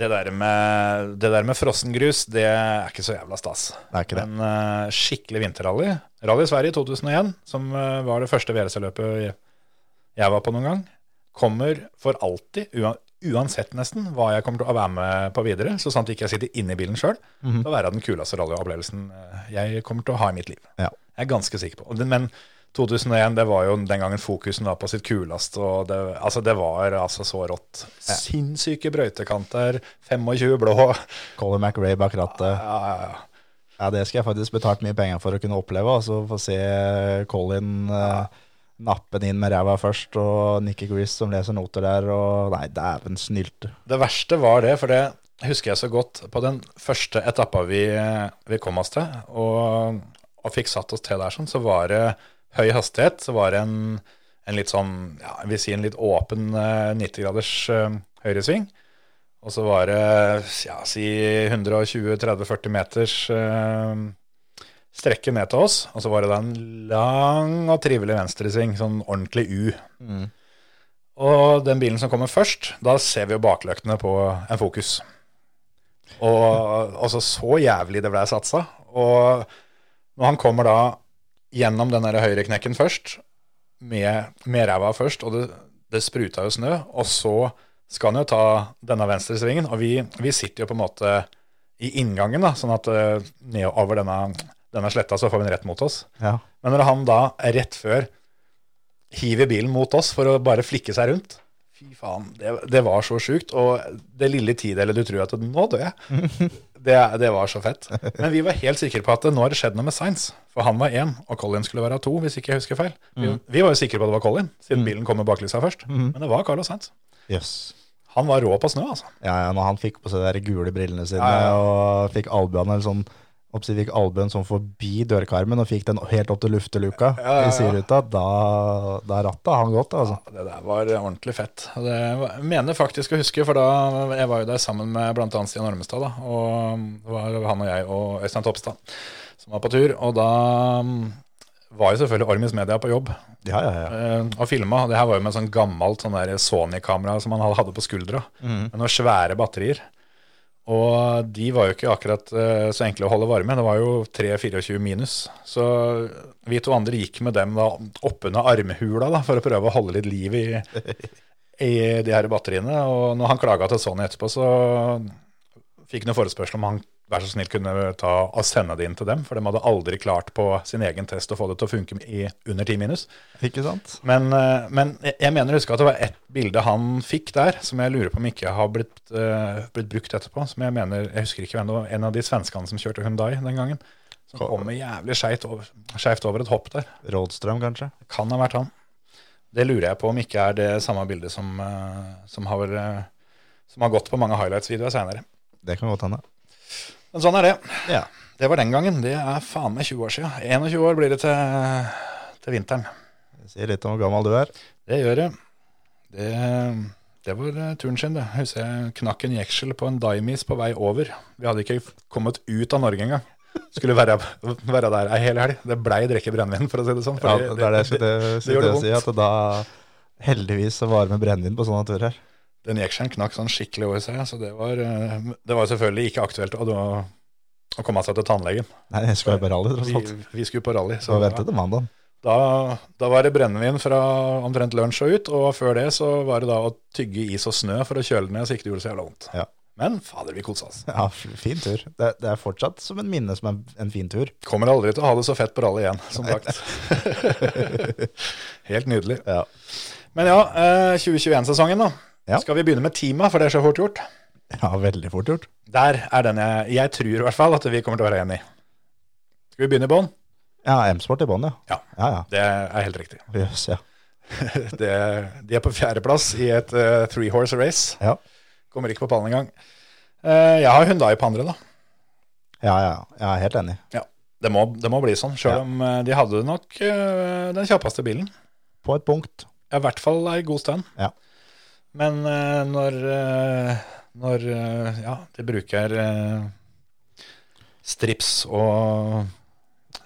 [SPEAKER 1] Det der med, det der med frossengrus, det er ikke så jævla stas.
[SPEAKER 4] Det er ikke det.
[SPEAKER 1] Men eh, skikkelig vinterrally. Rally i Sverige 2001, som eh, var det første VRC-løpet jeg- jeg var på noen gang, kommer for alltid, ua- uansett nesten, hva jeg kommer til å være med på videre, så sant ikke jeg sitter inne i bilen sjøl,
[SPEAKER 4] Mhm.
[SPEAKER 1] til å være den kuleste rallyopplevelsen eh, jeg kommer til å ha i mitt liv.
[SPEAKER 4] Ja.
[SPEAKER 1] Jeg er ganske sikker på. Og det- Men 2001, det var jo den gangen fokusen var på sitt kuleste, og det, altså det var altså så rått. Sinnssyke brøytekanter, 25 blå. <laughs>
[SPEAKER 4] Colin McRae bak rattet.
[SPEAKER 1] Ja, ja, ja.
[SPEAKER 4] Ja, det skal jeg faktisk betalt mye penger for å kunne oppleve. Altså få se Colin eh, nappe den inn med ræva først, og Nikki Grease som leser noter der, og nei, dæven snylte.
[SPEAKER 1] Det verste var det, for det husker jeg så godt på den første etappa vi, vi kom oss til, og, og fikk satt oss til der, sånn, så var det høy hastighet, så var det en, en litt sånn, ja, jeg vil si en litt åpen eh, 90-graders eh, høyresving, og så var det, ja, si 120-30-40 meters eh, strekke ned til oss, og så var det da en lang og trivelig venstresving, sånn ordentlig U. Og den bilen som kommer først, da ser vi jo bakløktene på en fokus. Og altså så jævlig det ble satsa. Og når han kommer da gjennom den der høyreknekken først, med, med ræva først, og det, det spruta jo snø, og så skal han jo ta denne venstresvingen, og vi, vi sitter jo på en måte i inngangen, da, sånn at eh, nedover denne, denne sletta så får vi den rett mot oss.
[SPEAKER 4] Ja.
[SPEAKER 1] Men når han da, rett før, hiver bilen mot oss for å bare flikke seg rundt Fy faen, det, det var så sjukt. Og det lille tidelet du tror at nå dør jeg, Det, det var så fett. Men vi var helt sikre på at nå har det skjedd noe med Sainz. For han var én, og Colin skulle være to, hvis ikke jeg husker feil. Vi, vi var jo sikre på at det var Colin, siden bilen kom med baklysa først. Men det var Carlos Sainz.
[SPEAKER 4] Jøss.
[SPEAKER 1] Han var rå på snø, altså.
[SPEAKER 4] Ja, ja, når han fikk på seg de der gule brillene sine
[SPEAKER 1] Ja, ja.
[SPEAKER 4] og fikk albuene eller sånn Oppsi fikk albuen sånn forbi dørkarmen og fikk den helt opp til lufteluka
[SPEAKER 1] Ja, ja, ja.
[SPEAKER 4] i sideruta, da, da ratta han godt, altså.
[SPEAKER 1] Det der var ordentlig fett. Og Det var- mener faktisk å huske, for da jeg var jo der sammen med bl.a. Stian Ormestad. Da, og det var han og jeg og Øystein Topstad som var på tur. Og da mm, var jo selvfølgelig Ormis Media på jobb
[SPEAKER 4] Ja, ja, ja.
[SPEAKER 1] eh, og filma. Det her var jo med sånn gammelt sånn der Sony-kamera som han hadde- hadde på skuldra. Med noen svære batterier. Og de var jo ikke akkurat eh, så enkle å holde varme. Det var jo 3-24 minus. Så vi to andre gikk med dem da oppunder armhula da, for å prøve å holde litt liv i, i de her batteriene. Og når han klaga til Sony etterpå, så fikk han jo forespørsel om han vær så snill kunne ta og sende det inn til dem. For de hadde aldri klart på sin egen test å få det til å funke i under 10 minus.
[SPEAKER 4] Ikke sant?
[SPEAKER 1] Men, eh, men jeg- jeg mener å huske at det var ett bilde han fikk der, som jeg lurer på om ikke har blitt, eh, blitt brukt etterpå. Som jeg mener, jeg husker ikke hvem det var, en av de svenskene som kjørte Hyundai den gangen. Som kom med jævlig skeivt over, skeivt over et hopp der.
[SPEAKER 4] Rådstrøm, kanskje?
[SPEAKER 1] Kan ha vært han. Det lurer jeg på om ikke er det samme bildet som, eh, som, har, eh, som har gått på mange highlights-videoer seinere.
[SPEAKER 4] Det kan godt hende.
[SPEAKER 1] Men sånn er det.
[SPEAKER 4] Ja.
[SPEAKER 1] Det var den gangen. Det er faen meg 20 år siden. 21 år blir det til, til vinteren.
[SPEAKER 4] Det sier litt om hvor gammel du er.
[SPEAKER 1] Det gjør det. Det, det var eh, turen sin, det. Jeg husker jeg knakk en jeksel på en Daimis på vei over. Vi hadde ikke kommet ut av Norge engang. Skulle være, være der ei hel helg. Det blei drikke brennevin, for å si det sånn.
[SPEAKER 4] Ja,
[SPEAKER 1] fordi
[SPEAKER 4] det er det jeg skulle
[SPEAKER 1] gjør
[SPEAKER 4] skulle
[SPEAKER 1] det
[SPEAKER 4] til å si, at da heldigvis så varmer brennevin på sånne turer.
[SPEAKER 1] Den jekselen knakk sånn skikkelig over seg, så det var, eh, det var selvfølgelig ikke aktuelt å, å komme seg til tannlegen.
[SPEAKER 4] Nei, jeg skulle jo på rally, tross
[SPEAKER 1] Vi,
[SPEAKER 4] alt.
[SPEAKER 1] vi skulle på rally.
[SPEAKER 4] Så vente til mandagen.
[SPEAKER 1] Da, da var det brennevin fra omtrent lunsj og ut, og før det så var det da å tygge is og snø for å kjøle det ned så ikke det gjorde så jævla vondt.
[SPEAKER 4] Ja.
[SPEAKER 1] Men fader, vi kosa oss.
[SPEAKER 4] Ja, f- fin tur. Det, det er fortsatt som en minne som en, en fin tur.
[SPEAKER 1] Kommer aldri til å ha det så fett på rally igjen, som sagt. <laughs> Helt nydelig.
[SPEAKER 4] Ja.
[SPEAKER 1] Men ja, eh, 2021-sesongen, da.
[SPEAKER 4] Ja.
[SPEAKER 1] Skal vi begynne med teama, for det er så fort gjort?
[SPEAKER 4] ja, veldig fort gjort.
[SPEAKER 1] Der er den jeg, jeg tror i hvert fall at vi kommer til å være enige i. Skal vi begynne i bånn?
[SPEAKER 4] Ja, M-sport i bånn, ja.
[SPEAKER 1] Ja.
[SPEAKER 4] Ja, ja.
[SPEAKER 1] Det er helt
[SPEAKER 4] <laughs>
[SPEAKER 1] riktig.
[SPEAKER 4] Jøss, ja.
[SPEAKER 1] Det, de er på fjerdeplass i et eh, three horse race.
[SPEAKER 4] Ja.
[SPEAKER 1] Kommer ikke på pallen engang. Eh, jeg har Hyundai på andre, da.
[SPEAKER 4] Ja, ja. Jeg er helt enig.
[SPEAKER 1] Ja, Det må, det må bli sånn, sjøl
[SPEAKER 4] Ja.
[SPEAKER 1] om eh, de hadde nok eh, den kjappeste bilen.
[SPEAKER 4] På et punkt.
[SPEAKER 1] Ja, i hvert fall ei god stund.
[SPEAKER 4] Ja.
[SPEAKER 1] Men eh, når, eh, når eh, ja, de bruker eh, strips og,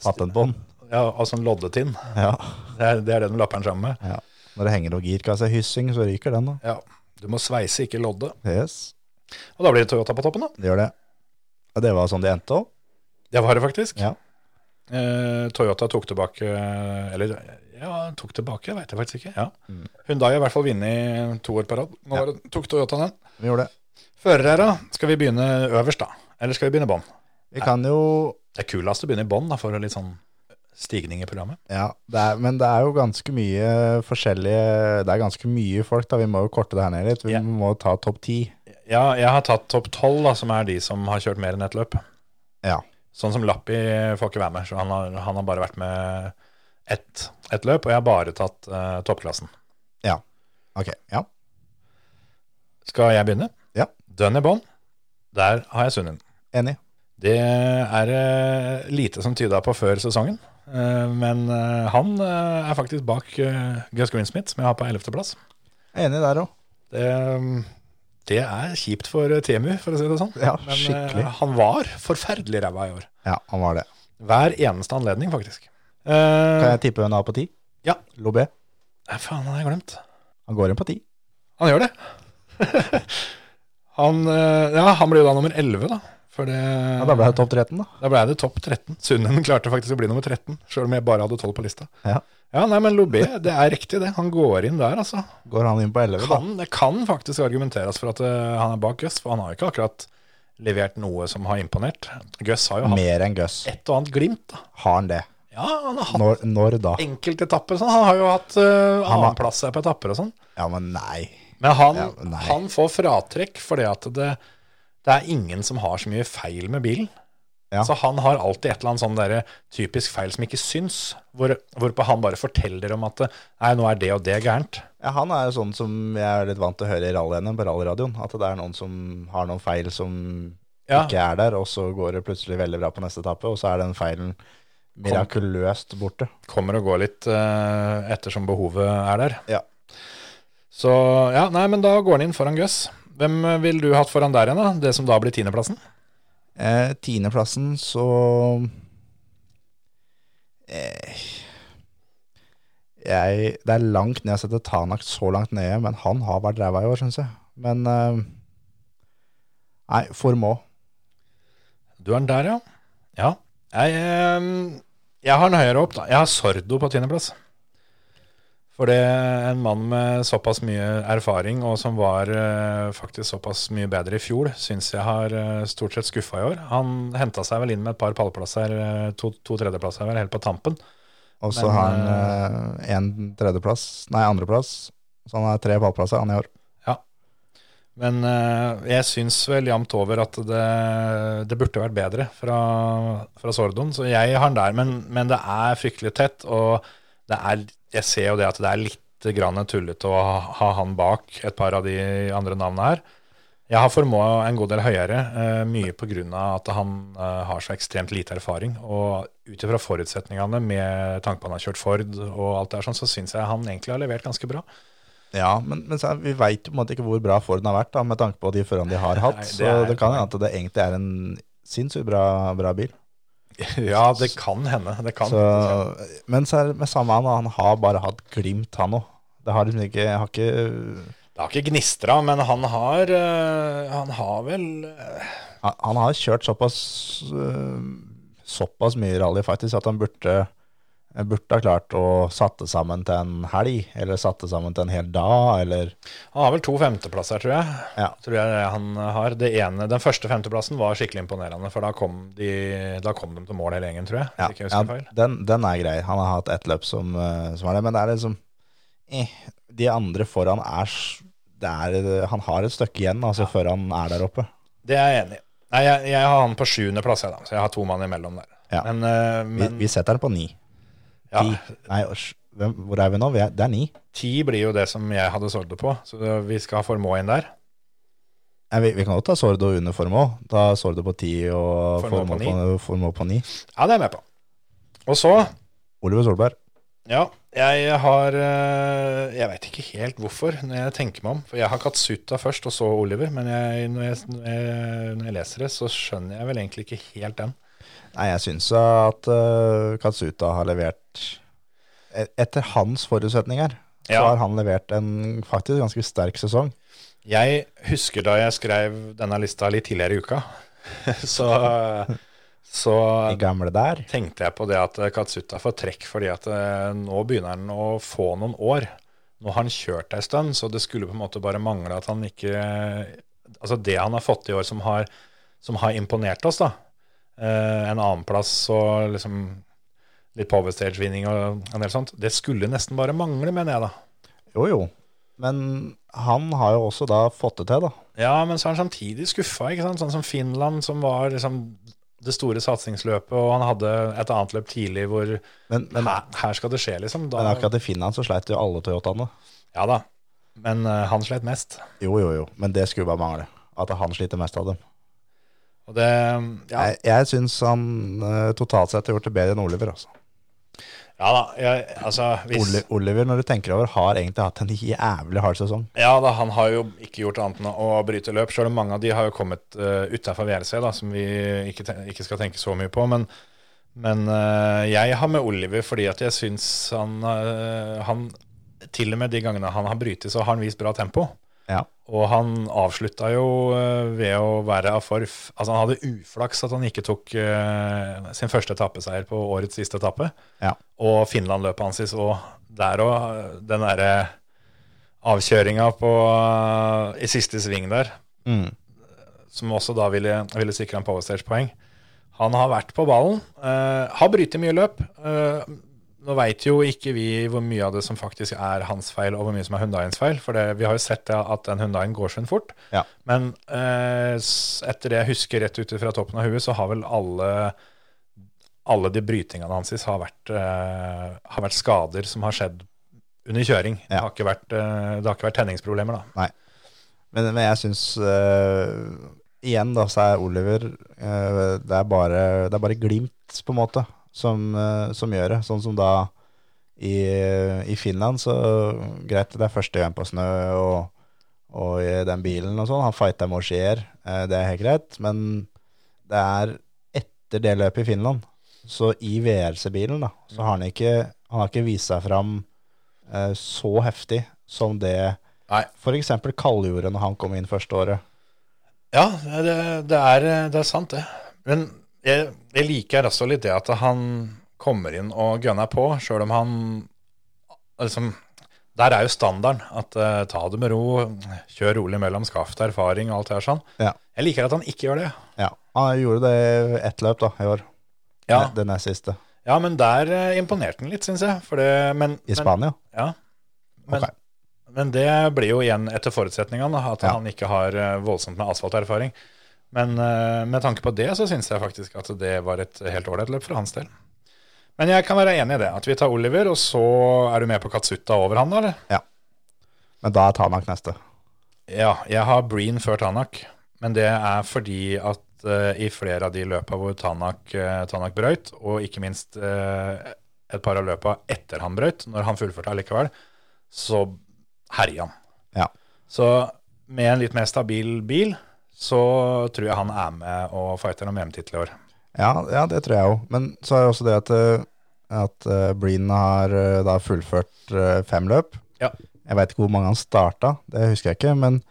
[SPEAKER 4] Patentbånd.
[SPEAKER 1] ja, og sånn loddetinn,
[SPEAKER 4] Ja.
[SPEAKER 1] det er det, er det de lapper den sammen med.
[SPEAKER 4] ja. Når det henger noe girkassehyssing, så ryker den, da.
[SPEAKER 1] Ja, Du må sveise, ikke lodde.
[SPEAKER 4] Yes.
[SPEAKER 1] Og da blir det Toyota på toppen, da.
[SPEAKER 4] Det gjør det. Ja, det var sånn det endte òg.
[SPEAKER 1] Det var det faktisk.
[SPEAKER 4] Ja.
[SPEAKER 1] Eh, Toyota tok tilbake eh, Eller ja, tok tilbake, veit jeg faktisk ikke. Ja.
[SPEAKER 4] Mm.
[SPEAKER 1] Hyundai har i hvert fall vunnet to år på rad. Nå var det, tok Toyota den.
[SPEAKER 4] Vi gjorde det.
[SPEAKER 1] Førere, da. Skal vi begynne øverst, da? Eller skal vi begynne i bånn?
[SPEAKER 4] Vi kan jo
[SPEAKER 1] Det er kulest å begynne i bånn, da, for litt sånn stigning i programmet.
[SPEAKER 4] Ja, det er, men det er jo ganske mye forskjellige Det er ganske mye folk, da. Vi må jo korte det her ned litt. Vi
[SPEAKER 1] Ja.
[SPEAKER 4] må ta topp ti.
[SPEAKER 1] Ja, jeg har tatt topp tolv, da, som er de som har kjørt mer enn ett løp.
[SPEAKER 4] Ja.
[SPEAKER 1] Sånn som Lappi får ikke være med, så han har, han har bare vært med ett, ett løp, og jeg har bare tatt eh, toppklassen.
[SPEAKER 4] Ja. Ok. Ja.
[SPEAKER 1] Skal jeg begynne?
[SPEAKER 4] Ja.
[SPEAKER 1] Dønn i bånn. Der har jeg Sunnen.
[SPEAKER 4] Enig.
[SPEAKER 1] Det er eh, lite som tyda på før sesongen, eh, men eh, han eh, er faktisk bak eh, Gus Greensmith, som jeg har på 11. plass.
[SPEAKER 4] Enig der òg.
[SPEAKER 1] Det, det er kjipt for eh, Temu, for å si det sånn.
[SPEAKER 4] Ja,
[SPEAKER 1] Men eh,
[SPEAKER 4] skikkelig.
[SPEAKER 1] han var forferdelig ræva i år.
[SPEAKER 4] Ja, han var det.
[SPEAKER 1] Hver eneste anledning, faktisk.
[SPEAKER 4] Kan
[SPEAKER 1] Eh,
[SPEAKER 4] jeg tippe hvem han har på ti?
[SPEAKER 1] Ja.
[SPEAKER 4] Lobé.
[SPEAKER 1] nei, faen, han har jeg glemt.
[SPEAKER 4] Han går inn på ti.
[SPEAKER 1] Han gjør det. <laughs> han, eh, ja, han ble jo da nummer 11, da. For det,
[SPEAKER 4] Ja, da ble det topp 13, da.
[SPEAKER 1] Da ble det topp 13. Sunnen klarte faktisk å bli nummer 13, sjøl om jeg bare hadde 12 på lista.
[SPEAKER 4] Ja.
[SPEAKER 1] Ja, nei, men Lobé, det er riktig det. Han går inn der, altså.
[SPEAKER 4] Går han inn på 11, da?
[SPEAKER 1] Kan, det kan faktisk argumenteres for at eh, han er bak Gus, for han har jo ikke akkurat levert noe som har imponert. Gus har jo hatt
[SPEAKER 4] Mer enn Gus.
[SPEAKER 1] et og annet glimt, da.
[SPEAKER 4] Har han det?
[SPEAKER 1] Ja, han har hatt
[SPEAKER 4] Når, når da?
[SPEAKER 1] enkeltetapper og sånn. Han har jo hatt uh,
[SPEAKER 4] har-
[SPEAKER 1] annenplass her på etapper og sånn.
[SPEAKER 4] Ja, men nei.
[SPEAKER 1] Men han,
[SPEAKER 4] Ja, nei.
[SPEAKER 1] han får fratrekk fordi at det, det er ingen som har så mye feil med bilen.
[SPEAKER 4] Ja.
[SPEAKER 1] Så han har alltid et eller annet sånn derre typisk feil som ikke syns, hvor, hvorpå han bare forteller om at nei, nå er det og det gærent.
[SPEAKER 4] Ja, han er jo sånn som jeg er litt vant til å høre i rallyene på rallyradioen. At det er noen som har noen feil som
[SPEAKER 1] Ja.
[SPEAKER 4] ikke er der, og så går det plutselig veldig bra på neste etappe, og så er den feilen mirakuløst borte.
[SPEAKER 1] Kommer og går litt eh, ettersom behovet er der.
[SPEAKER 4] Ja.
[SPEAKER 1] Så ja, nei, men da går han inn foran Gus. Hvem eh, ville du hatt foran der igjen, da? Det som da blir tiendeplassen?
[SPEAKER 4] Eh, Tiendeplassen, så eh, jeg, Det er langt ned. Jeg setter Tanak så langt nede, men han har vært ræva i år, syns jeg. Men eh, Nei, Formå.
[SPEAKER 1] Du er den der, ja. Ja. Jeg, eh, jeg har den høyere opp, da. Jeg har Sordo på tiendeplass. For det en mann med såpass mye erfaring, og som var eh, faktisk såpass mye bedre i fjor, syns jeg har eh, stort sett skuffa i år. Han henta seg vel inn med et par pallplasser, eh, to, to tredjeplasser vel, helt på tampen.
[SPEAKER 4] Og så
[SPEAKER 1] Men,
[SPEAKER 4] har han eh, en tredjeplass, nei, andreplass. Så han har tre pallplasser han i år.
[SPEAKER 1] Men eh, jeg syns vel jevnt over at det, det burde vært bedre fra, fra Sordoen, så jeg har den der. Men, men det er fryktelig tett, og det er, jeg ser jo det at det er litt grann tullete å ha- ha han bak et par av de andre navnene her. Jeg har Formoe en god del høyere, eh, mye pga. at han eh, har så ekstremt lite erfaring. Og ut ifra forutsetningene med tanke på han har kjørt Ford og alt det her sånn, så syns jeg han egentlig har levert ganske bra.
[SPEAKER 4] Ja, men, men så, er- vi veit jo på en måte ikke hvor bra Forden har vært, da, med tanke på de førerne de har hatt.
[SPEAKER 1] Nei, det
[SPEAKER 4] så
[SPEAKER 1] er-
[SPEAKER 4] det kan hende at det egentlig er en sinnssykt bra, bra bil.
[SPEAKER 1] Ja, det kan hende. Det kan.
[SPEAKER 4] Så, men så er det med samme han, han har bare hatt glimt, han òg. Det har liksom ikke, har ikke
[SPEAKER 1] Det har ikke gnistra, men han har øh, Han har vel øh,
[SPEAKER 4] han, han har kjørt såpass øh, Såpass mye rally faktisk at han burde, burde ha klart å satte sammen til en helg, eller satte sammen til en hel dag, eller
[SPEAKER 1] Han har vel to femteplasser, tror jeg.
[SPEAKER 4] Ja.
[SPEAKER 1] Tror jeg det han har. Det ene, den første femteplassen var skikkelig imponerende, for da kom de, da kom de til mål hele gjengen, tror jeg.
[SPEAKER 4] Ja,
[SPEAKER 1] hvis ikke jeg husker feil.
[SPEAKER 4] ja den, den er grei. Han har hatt ett løp som, eh, som er det, men det er liksom eh, De andre foran er, s- det er eh, Han har et stykke igjen altså, før han er der oppe.
[SPEAKER 1] Det er jeg enig i. Nei, jeg, jeg har han på sjuendeplass, jeg, da, så jeg har to mann imellom der.
[SPEAKER 4] Ja.
[SPEAKER 1] Men, øh,
[SPEAKER 4] Vi,
[SPEAKER 1] men
[SPEAKER 4] vi setter den på ni.
[SPEAKER 1] ja,
[SPEAKER 4] Ti. Nei, års- hvem, hvor er vi nå? Vi er, det er ni.
[SPEAKER 1] ti blir jo det som jeg hadde solgt det på, så vi skal ha Formoe inn der.
[SPEAKER 4] Nei, vi, vi kan godt ta Sordo under form òg. Da Sordo på ti og
[SPEAKER 1] Formo på
[SPEAKER 4] Formo på, Formo på ni.
[SPEAKER 1] Ja, det er jeg med på. Og så
[SPEAKER 4] Oliver Solberg.
[SPEAKER 1] Ja, jeg har eh, Jeg veit ikke helt hvorfor, når jeg tenker meg om. For jeg har Katsuta først, og så Oliver. Men jeg, når, jeg, når, jeg, når jeg leser det, så skjønner jeg vel egentlig ikke helt den.
[SPEAKER 4] Nei, jeg syns at eh, Katsuta har levert e- Etter hans forutsetninger så
[SPEAKER 1] Ja.
[SPEAKER 4] har han levert en faktisk ganske sterk sesong.
[SPEAKER 1] Jeg husker da jeg skrev denne lista litt tidligere i uka, <laughs> så, så
[SPEAKER 4] De gamle der.
[SPEAKER 1] tenkte jeg på det at eh, Katsuta får trekk, fordi at eh, nå begynner han å få noen år. Nå har han kjørt ei stund, så det skulle på en måte bare mangle at han ikke Altså det han har fått i år som har, som har imponert oss, da. Eh, en annenplass og liksom litt powerstage-vinning og en del sånt. Det skulle nesten bare mangle, mener jeg, da.
[SPEAKER 4] Jo, jo. Men han har jo også da fått det til, da.
[SPEAKER 1] Ja, men så er han samtidig skuffa, ikke sant. Sånn som Finland, som var liksom det store satsingsløpet, og han hadde et annet løp tidlig hvor
[SPEAKER 4] Men, men,
[SPEAKER 1] her, her skal det skje, liksom. Da,
[SPEAKER 4] men akkurat i Finland så sleit jo alle Toyotaene.
[SPEAKER 1] Ja da, men eh, han slet mest.
[SPEAKER 4] Jo, jo, jo. Men det skulle bare mangle. At han sliter mest av dem.
[SPEAKER 1] Og det, ja,
[SPEAKER 4] Jeg, jeg syns han eh, totalt sett har gjort det bedre enn Oliver. Altså.
[SPEAKER 1] ja da, jeg, altså hvis,
[SPEAKER 4] Oli, Oliver, når du tenker over, har egentlig hatt en jævlig hard sesong.
[SPEAKER 1] Ja da, han har jo ikke gjort annet enn å bryte løp, selv om mange av de har jo kommet uh, utenfor VRC, da, som vi ikke, ten- ikke skal tenke så mye på. Men, men eh, jeg har med Oliver fordi at jeg syns han, eh, han Til og med de gangene han har brytet, så har han vist bra tempo.
[SPEAKER 4] Ja.
[SPEAKER 1] Og han avslutta jo eh, ved å være av forf. Altså han hadde uflaks at han ikke tok eh, sin første etappeseier på årets siste etappe.
[SPEAKER 4] Ja.
[SPEAKER 1] Og Finland-løpet hans is òg. Der òg, den derre avkjøringa på, eh, i siste sving der,
[SPEAKER 4] Mm.
[SPEAKER 1] som også da ville, ville sikre en powerstage-poeng. Han har vært på ballen, eh, har brytet mye løp. eh, Nå veit jo ikke vi hvor mye av det som faktisk er hans feil, og hvor mye som er Hundaens feil. For det, vi har jo sett det at den Hundaen går seg fort.
[SPEAKER 4] Ja.
[SPEAKER 1] Men eh, s- etter det jeg husker rett ute fra toppen av huet, så har vel alle alle de brytingene hans har vært, eh, har vært skader som har skjedd under kjøring. Det,
[SPEAKER 4] Ja.
[SPEAKER 1] har ikke vært, eh, det har ikke vært tenningsproblemer, da.
[SPEAKER 4] Men, men jeg syns eh, Igjen, da, så er Oliver eh, det, er bare, det er bare glimt, på en måte, som, eh, som gjør det. Sånn som da i, i Finland, så greit, det er første gang på snø, og, og i den bilen og sånn. Han fighta med Auxier, eh, det er helt greit, men det er etter det løpet i Finland. Så i VRC-bilen, da, så har han ikke, han har ikke vist seg fram eh, så heftig som det
[SPEAKER 1] Nei.
[SPEAKER 4] for eksempel kaldgjorde når han kom inn første året.
[SPEAKER 1] Ja, det, det, er, det er sant, det. Men jeg, jeg liker også litt det at han kommer inn og gunner på, sjøl om han liksom Der er jo standarden at eh, ta det med ro, kjør rolig mellom skaft, erfaring og alt det her sånn.
[SPEAKER 4] Ja.
[SPEAKER 1] Jeg liker at han ikke gjør det.
[SPEAKER 4] Ja, Han gjorde det i ett løp da, i år.
[SPEAKER 1] Ja,
[SPEAKER 4] Ne- Det nest siste.
[SPEAKER 1] ja men der eh, imponerte han litt, syns jeg. For det, men,
[SPEAKER 4] I Spania.
[SPEAKER 1] Men, ja. Men,
[SPEAKER 4] Ok.
[SPEAKER 1] men det blir jo igjen etter forutsetningene, da, at
[SPEAKER 4] Ja.
[SPEAKER 1] han ikke har eh, voldsomt med asfalterfaring. Men eh, med tanke på det, så syns jeg faktisk at det var et helt ålreit løp for hans del. Men jeg kan være enig i det, at vi tar Oliver, og så er du med på Katsuta over han, da, eller?
[SPEAKER 4] Men da er Tanak neste.
[SPEAKER 1] Ja, jeg har Breen før Tanak, men det er fordi at eh, i flere av de løpa hvor Tanak, eh, Tanak brøyt, og ikke minst eh, et par av løpa etter han brøyt, når han fullførte allikevel, så herja han.
[SPEAKER 4] Ja.
[SPEAKER 1] Så med en litt mer stabil bil, så tror jeg han er med og fighter om EM-tittel i år.
[SPEAKER 4] Ja, ja, det tror jeg òg. Men så er det også det at, eh, at eh, Breen har eh, da fullført eh, fem løp.
[SPEAKER 1] Ja.
[SPEAKER 4] Jeg veit ikke hvor mange han starta, det husker jeg ikke. Men,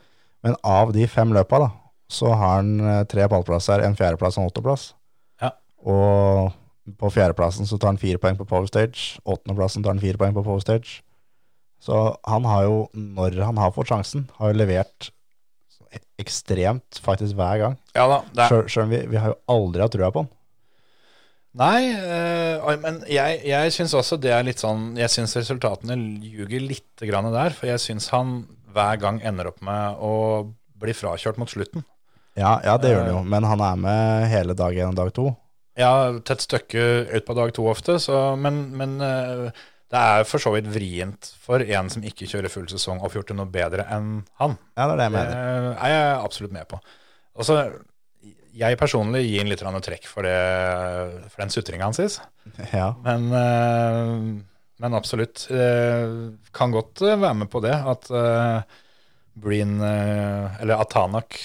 [SPEAKER 4] men av de fem løpa, da, så har han eh, tre pallplasser, en fjerdeplass og en åttendeplass.
[SPEAKER 1] Ja.
[SPEAKER 4] Og på fjerdeplassen så tar han fire poeng på power stage. Åttendeplassen tar han fire poeng på power stage. Så han har jo, når han har fått sjansen, har jo levert ekstremt faktisk hver gang.
[SPEAKER 1] Ja da, det er,
[SPEAKER 4] Sjøl sjøl om vi, vi har jo aldri hatt trua på han.
[SPEAKER 1] Nei, eh, oi, men jeg, jeg syns også det er litt sånn Jeg syns resultatene ljuger litt grann der. For jeg syns han hver gang ender opp med å bli frakjørt mot slutten.
[SPEAKER 4] Ja, ja det gjør han jo, Eh, men han er med hele dag én og dag to.
[SPEAKER 1] Ja, tett stykke ut på dag to ofte, så Men, men eh, det er for så vidt vrient for en som ikke kjører full sesong, å få gjort det noe bedre enn han.
[SPEAKER 4] Ja, det er det jeg
[SPEAKER 1] Det
[SPEAKER 4] mener.
[SPEAKER 1] er jeg absolutt med på. Og så, jeg personlig gir han litt grann trekk for, det, for den sutringa hans. Sist.
[SPEAKER 4] Ja,
[SPEAKER 1] Men, eh, men absolutt. eh, kan godt eh, være med på det at eh, Breen eh, Eller at Tanak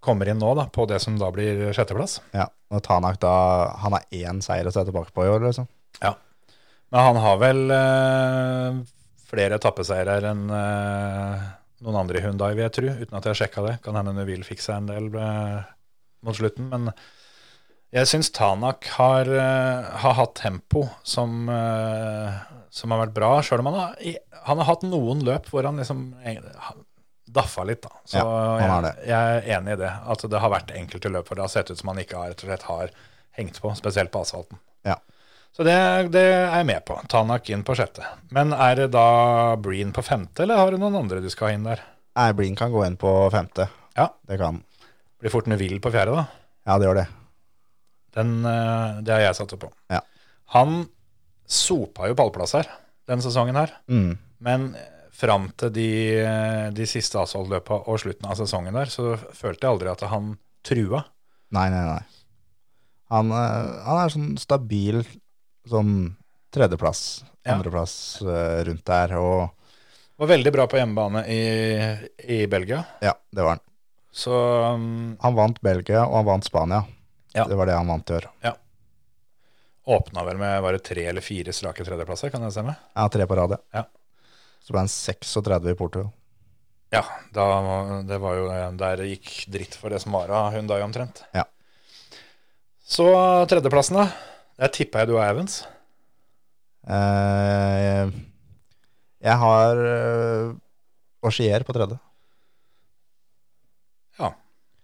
[SPEAKER 1] kommer inn nå da, på det som da blir sjetteplass.
[SPEAKER 4] ja. Og Tanak da, han har én seier å se tilbake på i år, liksom.
[SPEAKER 1] Men han har vel eh, flere etappeseirer enn eh, noen andre i Hyundai, vil jeg tro. Uten at jeg har sjekka det. Kan hende Neville fikk seg en del eh, mot slutten. Men jeg syns Tanak har, eh, har hatt tempo som, eh, som har vært bra. Sjøl om han har, i- han har hatt noen løp hvor han liksom eh, han daffa litt, da. Så
[SPEAKER 4] Ja, han har
[SPEAKER 1] jeg, jeg er enig i det. At det har vært enkelte løp hvor det har sett ut som han ikke har, rett og slett har hengt på, spesielt på asfalten.
[SPEAKER 4] Ja.
[SPEAKER 1] Så det, det er jeg med på. Tanak inn på sjette. Men er det da Breen på femte, eller har du noen andre du skal ha inn der?
[SPEAKER 4] Nei, Blin kan gå inn på femte.
[SPEAKER 1] Ja.
[SPEAKER 4] Det kan han.
[SPEAKER 1] Blir fort Neville på fjerde, da.
[SPEAKER 4] Ja, det gjør det.
[SPEAKER 1] Den, eh, det har jeg satt opp på.
[SPEAKER 4] Ja.
[SPEAKER 1] Han sopa jo pallplass her denne sesongen her.
[SPEAKER 4] Mm.
[SPEAKER 1] Men fram til de, eh, de siste asfaltløpa og slutten av sesongen der, så følte jeg aldri at han trua.
[SPEAKER 4] Nei, nei, nei. Han, eh, han er sånn stabil sånn tredjeplass,
[SPEAKER 1] Ja.
[SPEAKER 4] andreplass eh, rundt der, og
[SPEAKER 1] Var veldig bra på hjemmebane i, i Belgia.
[SPEAKER 4] ja, det var han.
[SPEAKER 1] Så um,
[SPEAKER 4] Han vant Belgia, og han vant Spania.
[SPEAKER 1] Ja.
[SPEAKER 4] Det var det han vant i år.
[SPEAKER 1] åpna vel med var det tre eller fire strake tredjeplasser, kan jeg stemme?
[SPEAKER 4] Ja, tre på rad,
[SPEAKER 1] Ja.
[SPEAKER 4] Så ble han 36 i Portugal.
[SPEAKER 1] Ja, da, det var jo eh, der det gikk dritt for det som var av Hyundai omtrent.
[SPEAKER 4] Ja.
[SPEAKER 1] Så tredjeplassen, da. Der tippa jeg du er Evans.
[SPEAKER 4] Eh, jeg har uh, Auxier på tredje.
[SPEAKER 1] Ja.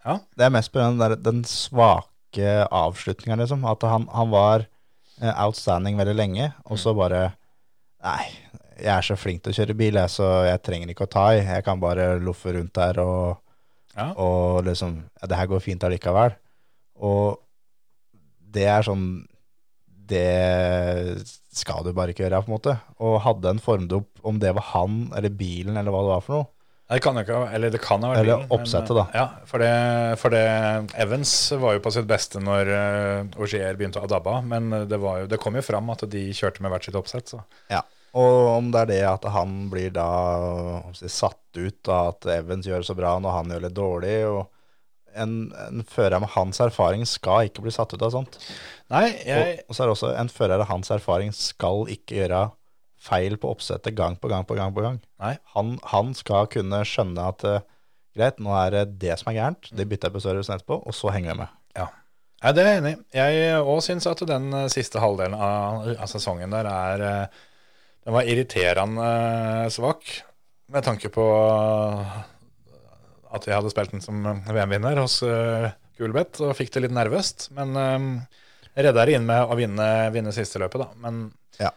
[SPEAKER 1] Ja.
[SPEAKER 4] Det er mest på den, der, den svake avslutninga, liksom. At han, han var eh, outstanding veldig lenge, og
[SPEAKER 1] Mm.
[SPEAKER 4] så bare Nei, jeg er så flink til å kjøre bil, jeg, så jeg trenger ikke å ta i. Jeg kan bare loffe rundt der og,
[SPEAKER 1] Ja.
[SPEAKER 4] og liksom ja, Det her går fint allikevel. Og det er sånn Det skal du bare ikke gjøre, på en måte. Og hadde en formdop om det var han eller bilen eller hva det var for noe.
[SPEAKER 1] Nei, Det kan jo ikke, ha- eller det kan ha vært
[SPEAKER 4] Eller
[SPEAKER 1] bilen, men,
[SPEAKER 4] oppsettet, da.
[SPEAKER 1] eh, Ja, for det, for det Evans var jo på sitt beste når eh, Augier begynte å adabbe, av, men eh, det, var jo, det kom jo fram at de kjørte med hvert sitt oppsett. Så.
[SPEAKER 4] Ja. Og om det er det at han blir da om å si, satt ut av at Evans gjør det så bra når han gjør det dårlig og en, en fører med hans erfaring skal ikke bli satt ut av sånt.
[SPEAKER 1] Nei,
[SPEAKER 4] Og,
[SPEAKER 1] jeg,
[SPEAKER 4] og så er det også en fører av hans erfaring skal ikke gjøre feil på oppsettet gang på gang på gang. på gang.
[SPEAKER 1] Nei.
[SPEAKER 4] Han, han skal kunne skjønne at eh, greit, nå er det det som er gærent, det bytter jeg på servicen etterpå, og så henger jeg med.
[SPEAKER 1] Ja. Nei, det er jeg enig i. Jeg òg syns at den eh, siste halvdelen av, av sesongen der er eh, Den var irriterende eh, svak, med tanke på eh, at jeg hadde spilt den som eh, VM-vinner hos eh, Gulbet, og fikk det litt nervøst. Men eh, jeg redda det inn med å vinne, vinne siste løpet, da. Men
[SPEAKER 4] Ja.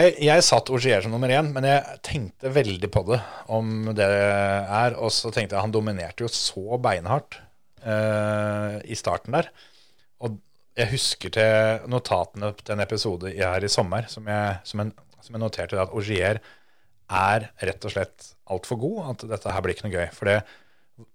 [SPEAKER 1] jeg, jeg satt Ogier som nummer én, men jeg tenkte veldig på det, om det er. Og så tenkte jeg han dominerte jo så beinhardt eh, i starten der. Og jeg husker til notatene til en episode jeg her i sommer, som jeg, som en, som jeg noterte at Ogier er rett og slett altfor god, at dette her blir ikke noe gøy. For det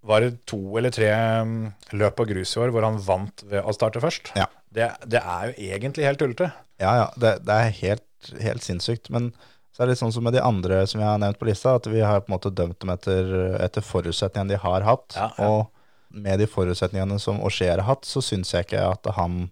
[SPEAKER 1] var det to eller tre mm, løp på grus i år hvor han vant ved å starte først.
[SPEAKER 4] Ja.
[SPEAKER 1] Det, det er jo egentlig helt tullete.
[SPEAKER 4] Ja, ja, det, det er helt, helt sinnssykt. Men så er det litt sånn som med de andre som jeg har nevnt på lista, at vi har på en måte dømt dem etter, etter forutsetningene de har hatt.
[SPEAKER 1] Ja, ja.
[SPEAKER 4] Og med de forutsetningene som Auger har hatt, så syns jeg ikke at han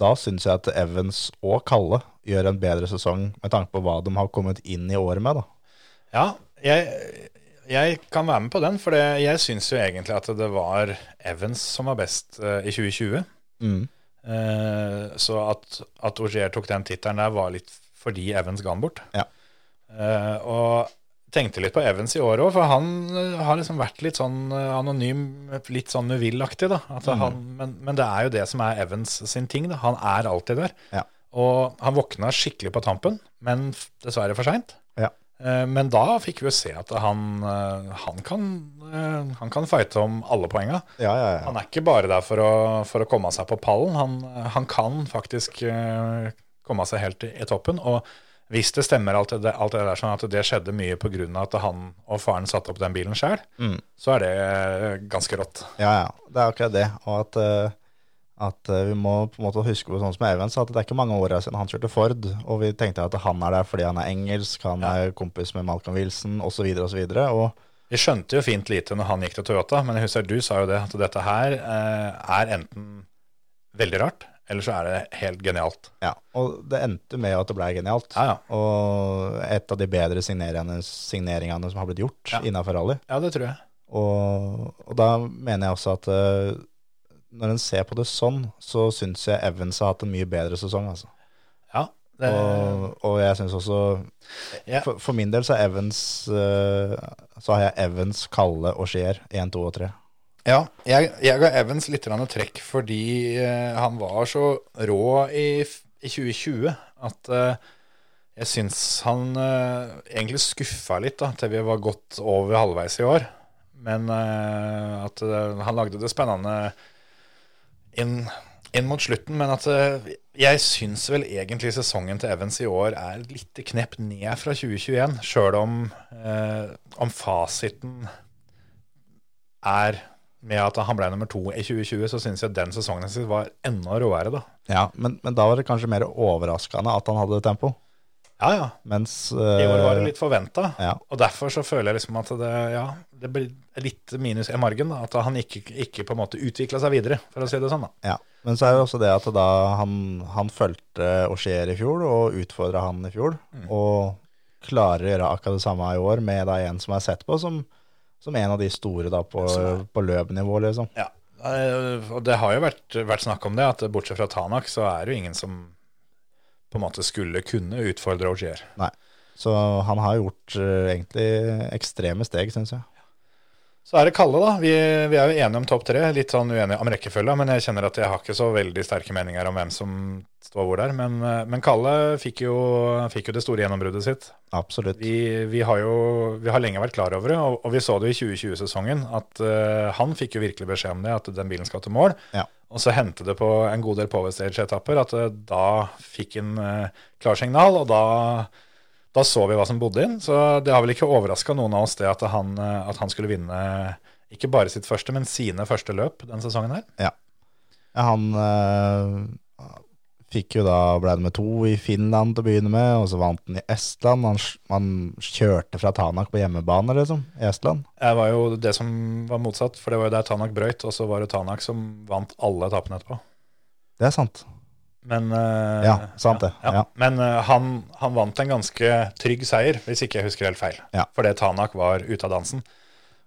[SPEAKER 4] Da syns jeg at Evans og Kalle gjør en bedre sesong med tanke på hva de har kommet inn i året med, da.
[SPEAKER 1] Ja, jeg, jeg kan være med på den, for det, jeg syns jo egentlig at det var Evans som var best eh, i 2020.
[SPEAKER 4] Mm.
[SPEAKER 1] Eh, så at, at Auger tok den tittelen der, var litt fordi Evans ga den bort.
[SPEAKER 4] Ja.
[SPEAKER 1] Eh, og tenkte litt på Evans i år òg, for han eh, har liksom vært litt sånn eh, anonym, litt sånn Neville-aktig, da. At
[SPEAKER 4] Mm.
[SPEAKER 1] han, men, men det er jo det som er Evans sin ting, da. Han er alltid der.
[SPEAKER 4] Ja.
[SPEAKER 1] Og han våkna skikkelig på tampen, men f- dessverre for seint.
[SPEAKER 4] Ja.
[SPEAKER 1] Eh, Men da fikk vi jo se at han, eh, han, kan, eh, han kan fighte om alle poenga.
[SPEAKER 4] Ja, ja, ja.
[SPEAKER 1] Han er ikke bare der for å, for å komme seg på pallen. Han, han kan faktisk eh, komme seg helt i, i toppen. Og hvis det stemmer alt det, alt det der, sånn at det skjedde mye pga. at han og faren satte opp den bilen sjøl,
[SPEAKER 4] Mm.
[SPEAKER 1] så er det eh, ganske rått.
[SPEAKER 4] Ja, ja. Det er akkurat det. Og at, eh, at eh, vi må på en måte huske på sånn som Evans, at det er ikke mange år siden han kjørte Ford, og vi tenkte at han er der fordi han er engelsk, han er kompis med Malcolm Wilson, osv., osv. Og
[SPEAKER 1] Vi skjønte jo fint lite når han gikk til Toyota, men jeg husker du sa jo det, at dette her eh, er enten veldig rart, eller så er det helt genialt.
[SPEAKER 4] ja, og det endte med at det ble genialt.
[SPEAKER 1] Ja, ja.
[SPEAKER 4] Og et av de bedre signeringene, signeringene som har blitt gjort
[SPEAKER 1] Ja.
[SPEAKER 4] innenfor rally.
[SPEAKER 1] Ja, det tror jeg.
[SPEAKER 4] Og, og da mener jeg også at eh, når en ser på det sånn, så syns jeg Evans har hatt en mye bedre sesong, altså.
[SPEAKER 1] Ja, det,
[SPEAKER 4] Og, og jeg syns også
[SPEAKER 1] Ja.
[SPEAKER 4] for, for min del så er Evans eh, Så har jeg Evans, Kalle og Skier. 1, 2 og 3.
[SPEAKER 1] ja jeg, jeg ga Evans litt grann trekk fordi eh, han var så rå i, f- i 2020 at eh, jeg syns han eh, egentlig skuffa litt da, til vi var godt over halvveis i år. Men eh, at eh, han lagde det spennende inn, inn mot slutten. Men at eh, jeg syns vel egentlig sesongen til Evans i år er et lite knep ned fra 2021. Sjøl om, eh, om fasiten er med at han ble nummer to i 2020, så syns jeg den sesongen hans var enda råere, da.
[SPEAKER 4] Ja, men, men da var det kanskje mer overraskende at han hadde det tempo.
[SPEAKER 1] Ja, ja.
[SPEAKER 4] Mens
[SPEAKER 1] I år var det
[SPEAKER 4] eh,
[SPEAKER 1] litt forventa.
[SPEAKER 4] ja.
[SPEAKER 1] Og derfor så føler jeg liksom at det, ja, det blir litt minus i margen. Da, at han ikke, ikke på en måte utvikla seg videre, for å si det sånn. da.
[SPEAKER 4] ja. Men så er det også det at da han, han fulgte Skier i fjor og utfordra han i fjor,
[SPEAKER 1] Mm.
[SPEAKER 4] og klarer å gjøre akkurat det samme i år med da en som er sett på som, som en av de store da på, på løpnivå, liksom.
[SPEAKER 1] Ja, eh, og det har jo vært, vært snakk om det, at bortsett fra Tanak, så er det jo ingen som på en måte skulle kunne utfordre Augier.
[SPEAKER 4] Nei. Så han har gjort eh, egentlig ekstreme steg, syns jeg.
[SPEAKER 1] Så er det Kalle, da. Vi, vi er jo enige om topp tre. Litt sånn uenige om rekkefølga, men jeg kjenner at jeg har ikke så veldig sterke meninger om hvem som står hvor der. Men, eh, men Kalle fikk jo, fikk jo det store gjennombruddet sitt.
[SPEAKER 4] Absolutt.
[SPEAKER 1] Vi, vi har jo vi har lenge vært klar over det, og, og vi så det i 2020-sesongen at eh, han fikk jo virkelig beskjed om det, at den bilen skal til mål.
[SPEAKER 4] Ja.
[SPEAKER 1] Og så hendte det på en god del Powerstage-etapper at eh, da fikk han eh, klarsignal, og da, da så vi hva som bodde inn. Så det har vel ikke overraska noen av oss det at han, eh, at han skulle vinne ikke bare sitt første, men sine første løp den sesongen her.
[SPEAKER 4] Ja, han eh, fikk jo da ble nummer to i Finland til å begynne med, og så vant han i Estland. Han, s- han kjørte fra Tanak på hjemmebane, liksom, i Estland.
[SPEAKER 1] Det var jo det som var motsatt, for det var jo der Tanak brøyt, og så var det Tanak som vant alle etappene etterpå.
[SPEAKER 4] Det er sant.
[SPEAKER 1] Men, eh,
[SPEAKER 4] Ja, sant det.
[SPEAKER 1] Ja.
[SPEAKER 4] Ja.
[SPEAKER 1] Men eh, han, han vant en ganske trygg seier, hvis ikke jeg husker helt feil.
[SPEAKER 4] Ja.
[SPEAKER 1] Fordi Tanak var ute av dansen.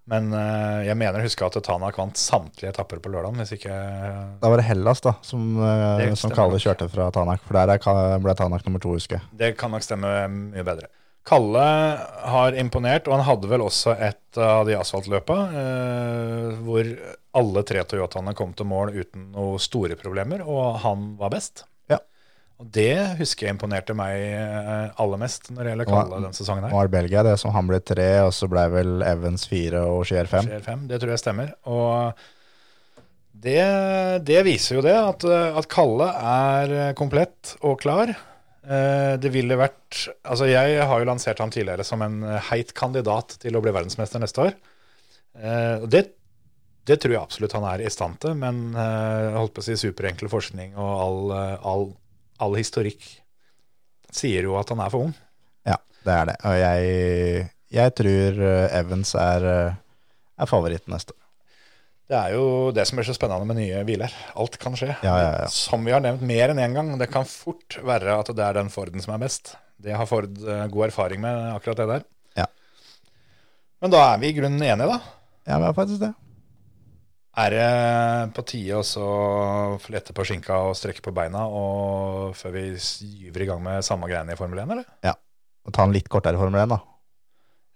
[SPEAKER 1] Men eh, jeg mener å huske at Tanak vant samtlige etapper på lørdagen, hvis ikke
[SPEAKER 4] Da var det Hellas, da, som, eh,
[SPEAKER 1] Det
[SPEAKER 4] som
[SPEAKER 1] stemmer
[SPEAKER 4] Kalle
[SPEAKER 1] nok.
[SPEAKER 4] kjørte fra Tanak. For der er Ka- ble Tanak nummer to, husker jeg.
[SPEAKER 1] Det kan nok stemme mye bedre. Kalle har imponert, og han hadde vel også et av de asfaltløpa eh, hvor alle tre Toyotaene kom til mål uten noe store problemer, og han var best.
[SPEAKER 4] Ja.
[SPEAKER 1] Og det husker jeg imponerte meg eh, aller mest når det gjelder
[SPEAKER 4] Og-
[SPEAKER 1] Kalle denne sesongen her.
[SPEAKER 4] Nå er Belgia det som han ble tre, og så ble vel Evans fire og Skier fem.
[SPEAKER 1] Skjer fem, det tror jeg stemmer. Og det, det viser jo det, at, at Kalle er eh, komplett og klar. Eh, Det ville vært Altså, jeg har jo lansert han tidligere som en eh, heit kandidat til å bli verdensmester neste år. Eh, Og det, det tror jeg absolutt han er i stand til, men eh, jeg holdt på å si superenkel forskning og all, eh, all, all historikk sier jo at han er for ung.
[SPEAKER 4] Ja, det er det. Og jeg, jeg tror eh, Evans er, eh, er favoritten neste år.
[SPEAKER 1] Det er jo det som er så spennende med nye biler. Alt kan skje.
[SPEAKER 4] Ja, ja, ja.
[SPEAKER 1] Som vi har nevnt mer enn én en gang, det kan fort være at det er den Forden som er best. Det har Ford eh, god erfaring med, akkurat det der.
[SPEAKER 4] Ja.
[SPEAKER 1] Men da er vi i grunnen enige, da.
[SPEAKER 4] Ja, men det er faktisk det.
[SPEAKER 1] Er det på tide å så flette på skinka og strekke på beina og før vi gyver i gang med samme greiene i Formel 1, eller?
[SPEAKER 4] Og ta en litt kortere Formel 1, da.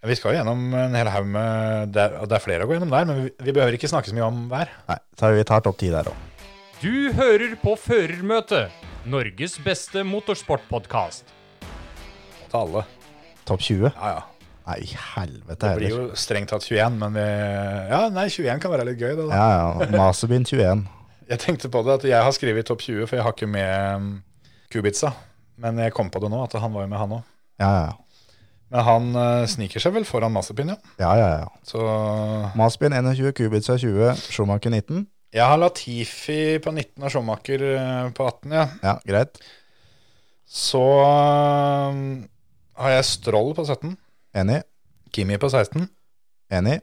[SPEAKER 1] Ja, Vi skal jo gjennom en hel haug med det er- og Det er flere å gå gjennom der, men vi, vi behøver ikke snakke så mye om hver.
[SPEAKER 4] Nei, så vi tar topp ti der òg.
[SPEAKER 5] Du hører på Førermøtet, Norges beste motorsportpodkast.
[SPEAKER 1] Til alle.
[SPEAKER 4] Topp 20?
[SPEAKER 1] Ja, ja.
[SPEAKER 4] Nei, i helvete
[SPEAKER 1] Det blir
[SPEAKER 4] heller.
[SPEAKER 1] jo strengt tatt 21, men vi, ja, nei, 21 kan være litt gøy. Da.
[SPEAKER 4] Ja, ja. Maserbyen 21.
[SPEAKER 1] Jeg tenkte på det at jeg har skrevet topp 20, for jeg har ikke med um, Kubica. Men jeg kom på det nå, at han var jo med, han òg.
[SPEAKER 4] Ja, ja,
[SPEAKER 1] Men han eh, sniker seg vel foran Mazepin, ja.
[SPEAKER 4] ja. ja, ja, ja.
[SPEAKER 1] Så
[SPEAKER 4] Maserbyen 21, Kubica 20, Schumacher 19.
[SPEAKER 1] jeg har Latifi på 19 og Schumacher eh, på 18, ja.
[SPEAKER 4] Ja, greit.
[SPEAKER 1] Så um, har jeg Stroll på 17,
[SPEAKER 4] Enig.
[SPEAKER 1] Kimi på 16,
[SPEAKER 4] Enig.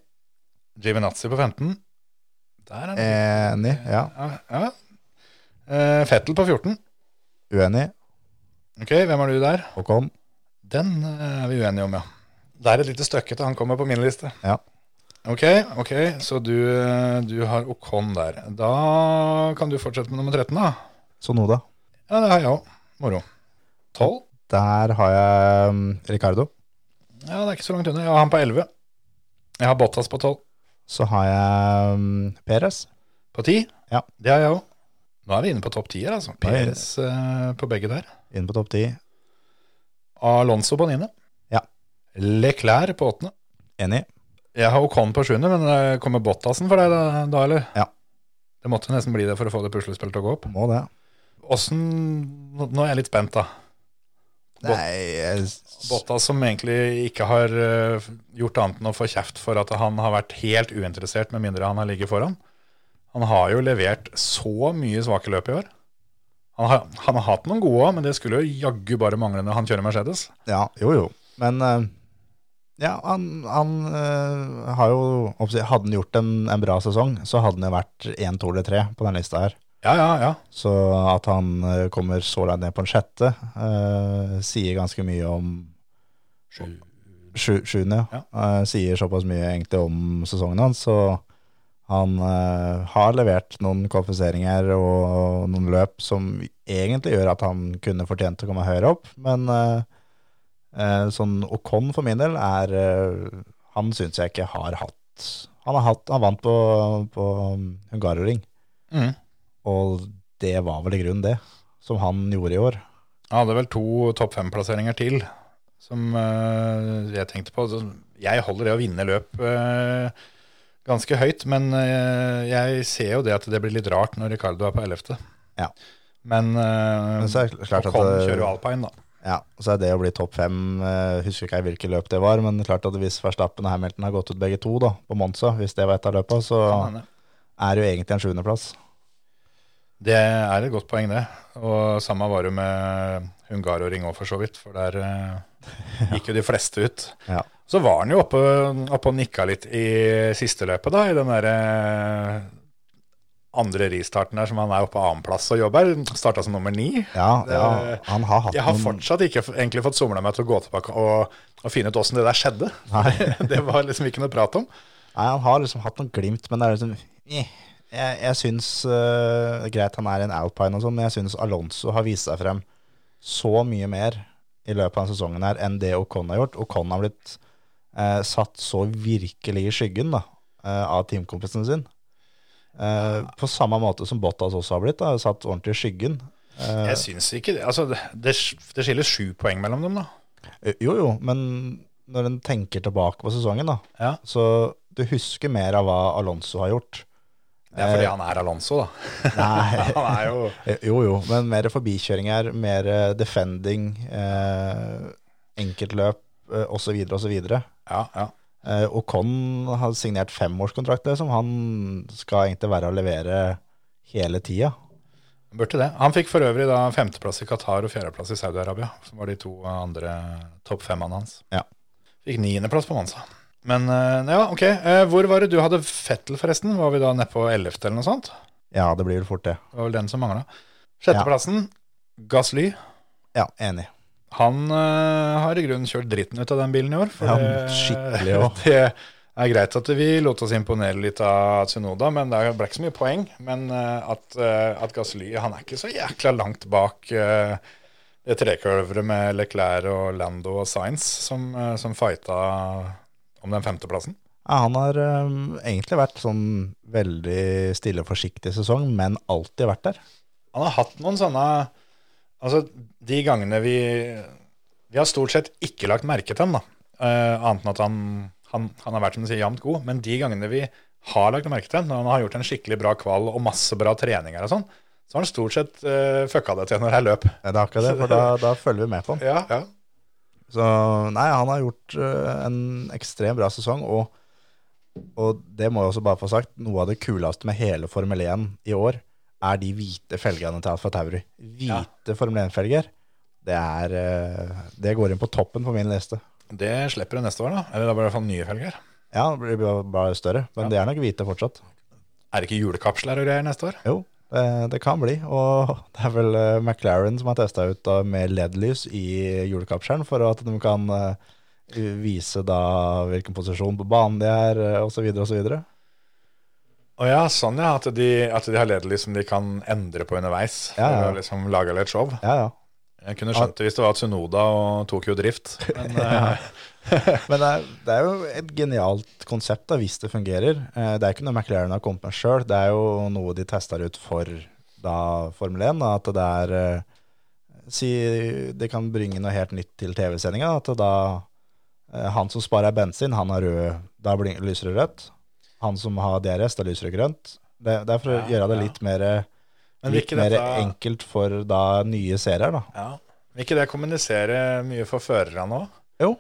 [SPEAKER 1] Givinazzi på 15. Der er han.
[SPEAKER 4] Enig. Ja.
[SPEAKER 1] Ja, ja. Eh, Fettel på 14.
[SPEAKER 4] Uenig.
[SPEAKER 1] Ok, hvem er du der?
[SPEAKER 4] Håkon.
[SPEAKER 1] Den eh, er vi uenige om, ja. Det er et lite stykke til han kommer på min liste.
[SPEAKER 4] Ja.
[SPEAKER 1] Ok, ok, så du, eh, du har Okon der. Da kan du fortsette med nummer 13, da.
[SPEAKER 4] Sonoda.
[SPEAKER 1] Ja, det har jeg òg. Moro. 12?
[SPEAKER 4] Der har jeg um, Ricardo.
[SPEAKER 1] Ja, det er ikke så langt unna. Jeg har han på 11. Jeg har Bottas på 12.
[SPEAKER 4] Så har jeg um, Perez.
[SPEAKER 1] På 10?
[SPEAKER 4] Ja.
[SPEAKER 1] Det har jeg òg. Nå er vi inne på topp 10 her, altså.
[SPEAKER 4] Da er vi-
[SPEAKER 1] Perez eh, på begge der.
[SPEAKER 4] Inn på topp 10.
[SPEAKER 1] Alonso på 9.
[SPEAKER 4] Ja.
[SPEAKER 1] Leclerc på 8.
[SPEAKER 4] Enig.
[SPEAKER 1] Jeg har Ocon på sjuende, men eh, kommer Bottasen for deg da, da eller?
[SPEAKER 4] Ja.
[SPEAKER 1] Det måtte nesten bli det for å få det puslespillet til å gå opp.
[SPEAKER 4] Må det.
[SPEAKER 1] Åssen nå- Nå er jeg litt spent, da. Bot-
[SPEAKER 4] Nei jeg, s-
[SPEAKER 1] Bottas som egentlig ikke har eh, gjort annet enn å få kjeft for at han har vært helt uinteressert, med mindre han har ligget foran. Han har jo levert så mye svake løp i år. Han har, han har hatt noen gode òg, men det skulle jo jaggu bare mangle når han kjører Mercedes.
[SPEAKER 4] Ja, jo jo. Men eh, ja, han, han eh, har jo hva skal jeg si, Hadde han gjort en, en bra sesong, så hadde han jo vært én, to eller tre på den lista her.
[SPEAKER 1] Ja, ja, ja.
[SPEAKER 4] Så at han eh, kommer så langt ned på en sjette, eh, sier ganske mye om
[SPEAKER 1] Sju.
[SPEAKER 4] sju, Sjuende, ja. Eh, sier såpass mye egentlig om sesongen hans. Så han eh, har levert noen kvalifiseringer og noen løp som egentlig gjør at han kunne fortjent å komme høyere opp, men eh, eh, sånn Ocon for min del er eh, Han syns jeg ikke har hatt Han, har hatt, han vant på, på Hungaroring,
[SPEAKER 1] Mm.
[SPEAKER 4] og det var vel i grunnen det som han gjorde i år.
[SPEAKER 1] Han hadde vel to topp fem-plasseringer til som eh, jeg tenkte på. Så Jeg holder det å vinne løp eh, ganske høyt, men eh, jeg ser jo det at det blir litt rart når Ricardo er på 11.
[SPEAKER 4] Ja.
[SPEAKER 1] Men,
[SPEAKER 4] Men så er det klart at eh,
[SPEAKER 1] Kom
[SPEAKER 4] det-
[SPEAKER 1] kjører jo alpine, da.
[SPEAKER 4] Ja, og så er det å bli topp fem eh, Husker ikke jeg hvilke løp det var, men klart at hvis Verstappen og Hamilton har gått ut begge to da, på Monza, hvis det var et av løpa, så
[SPEAKER 1] Kan hende.
[SPEAKER 4] er det jo egentlig en sjuendeplass.
[SPEAKER 1] Det er et godt poeng, det. Og samme var det med Hungaroring òg, for så vidt. For der eh, gikk jo de fleste ut.
[SPEAKER 4] Ja.
[SPEAKER 1] Så var han jo oppe, oppe og nikka litt i siste løpet, da. I den derre andre ristarten der som han er oppe på annenplass og jobber. Starta som nummer ni.
[SPEAKER 4] Ja,
[SPEAKER 1] Det-
[SPEAKER 4] ja, han har hatt
[SPEAKER 1] Jeg har
[SPEAKER 4] noen
[SPEAKER 1] fortsatt ikke f- egentlig fått somla meg til å gå tilbake og, og finne ut åssen det der skjedde. <laughs>
[SPEAKER 4] Nei.
[SPEAKER 1] det var liksom ikke noe prat om.
[SPEAKER 4] Nei, han har liksom hatt noen glimt, men det er liksom eh, Jeg, jeg syns eh, Greit, han er i en alpine og sånn, men jeg syns Alonso har vist seg frem så mye mer i løpet av denne sesongen her enn det Ocon har gjort. Ocon har blitt eh, satt så virkelig i skyggen da, eh, av teamkompisen sin. Eh, På samme måte som Bottas også har blitt, da, satt ordentlig i skyggen. Eh,
[SPEAKER 1] Jeg syns ikke det. Altså, det, det det skiller sju poeng mellom dem, da.
[SPEAKER 4] Eh, Jo, jo, men når en tenker tilbake på sesongen, da,
[SPEAKER 1] Ja.
[SPEAKER 4] så du husker mer av hva Alonso har gjort.
[SPEAKER 1] Det er fordi han er Alonso, da.
[SPEAKER 4] <laughs> Nei.
[SPEAKER 1] <laughs> han er jo
[SPEAKER 4] Eh, Jo, jo, men mer forbikjøringer, mer eh, defending, eh, enkeltløp eh, osv. osv.
[SPEAKER 1] Ja, ja.
[SPEAKER 4] Eh, Ocon har signert femårskontrakt, liksom. Han skal egentlig være å levere hele tida.
[SPEAKER 1] Burde det. Han fikk for øvrig da femteplass i Qatar og fjerdeplass i Saudi-Arabia, som var de to andre topp femmene hans.
[SPEAKER 4] Ja.
[SPEAKER 1] Fikk niendeplass på Monza. Men eh, ja, ok. Eh, Hvor var det du hadde Fettel, forresten? Var vi da nede på ellevte eller noe sånt?
[SPEAKER 4] Ja, det blir vel fort det.
[SPEAKER 1] Det var vel den som mangla. Sjetteplassen, Gasly.
[SPEAKER 4] Ja, enig.
[SPEAKER 1] Han eh, har i grunnen kjørt dritten ut av den bilen i år. For
[SPEAKER 4] Ja,
[SPEAKER 1] det- <laughs>
[SPEAKER 4] skikkelig også.
[SPEAKER 1] Det er greit at vi lot oss imponere litt av Tsunoda, men det ble ikke så mye poeng. Men eh, at, eh, at Gasly han er ikke så jækla langt bak eh, det trekløveret med Leclerc og Lando og Sainz som, eh, som fighta om den femteplassen.
[SPEAKER 4] Ja, han har eh, egentlig vært sånn veldig stille og forsiktig sesong, men alltid vært der.
[SPEAKER 1] Han har hatt noen sånne Altså, de gangene vi Vi har stort sett ikke lagt merke til ham, da. Eh, annet enn at han, han, han har vært som du sier, jevnt god. Men de gangene vi har lagt merke til ham, når han har gjort en skikkelig bra kval og masse bra treninger og sånn, så har han stort sett eh, fucka det til når det er løp.
[SPEAKER 4] Det er akkurat det, for da, da følger vi med på han.
[SPEAKER 1] Ja, ja.
[SPEAKER 4] Så nei, han har gjort eh, en ekstremt bra sesong, og, og det må jeg også bare få sagt, noe av det kuleste med hele Formel 1 i år, er de hvite felgene til Alfa Tauri. Hvite Formel 1-felger, det, er, eh, det går inn på toppen på min liste.
[SPEAKER 1] Det slipper du neste år, da. Eller da blir det i hvert fall nye felger.
[SPEAKER 4] Ja, det blir bare- bare større, men det er nok hvite fortsatt.
[SPEAKER 1] Er det ikke julekapsler og greier neste år?
[SPEAKER 4] Jo, det, det kan bli, og det er vel eh, McLaren som har testet ut da, med LED-lys i julekapselen, for at de kan... eh, vise da hvilken posisjon på banen de er, eh, og så videre og så videre.
[SPEAKER 1] Å ja, sånn ja. At de, at de har ledelys som de kan endre på underveis.
[SPEAKER 4] Ja, ja.
[SPEAKER 1] For å liksom lage litt show.
[SPEAKER 4] Ja, ja.
[SPEAKER 1] Jeg kunne skjønt det hvis det var Tsunoda og Tokyo
[SPEAKER 4] <laughs>
[SPEAKER 1] Drift. Men eh,
[SPEAKER 4] Men det er, det er jo et genialt konsept da, hvis det fungerer. Eh, Det er ikke noe McLaren har kommet med sjøl, det er jo noe de tester ut for da, Formel 1. Da, at det er eh, Si det kan bringe noe helt nytt til TV-sendinga. At da eh, han som sparer bensin, han har rød, da blir- lyser det rødt. Han som har DRS, da lyser det grønt. Det, det er for å
[SPEAKER 1] Ja,
[SPEAKER 4] gjøre det
[SPEAKER 1] ja.
[SPEAKER 4] litt mer,
[SPEAKER 1] Men vil
[SPEAKER 4] litt
[SPEAKER 1] ikke
[SPEAKER 4] mer
[SPEAKER 1] dette-
[SPEAKER 4] enkelt for da nye seere, da.
[SPEAKER 1] ja. vil ikke det kommunisere mye for førerne òg?
[SPEAKER 4] Jo.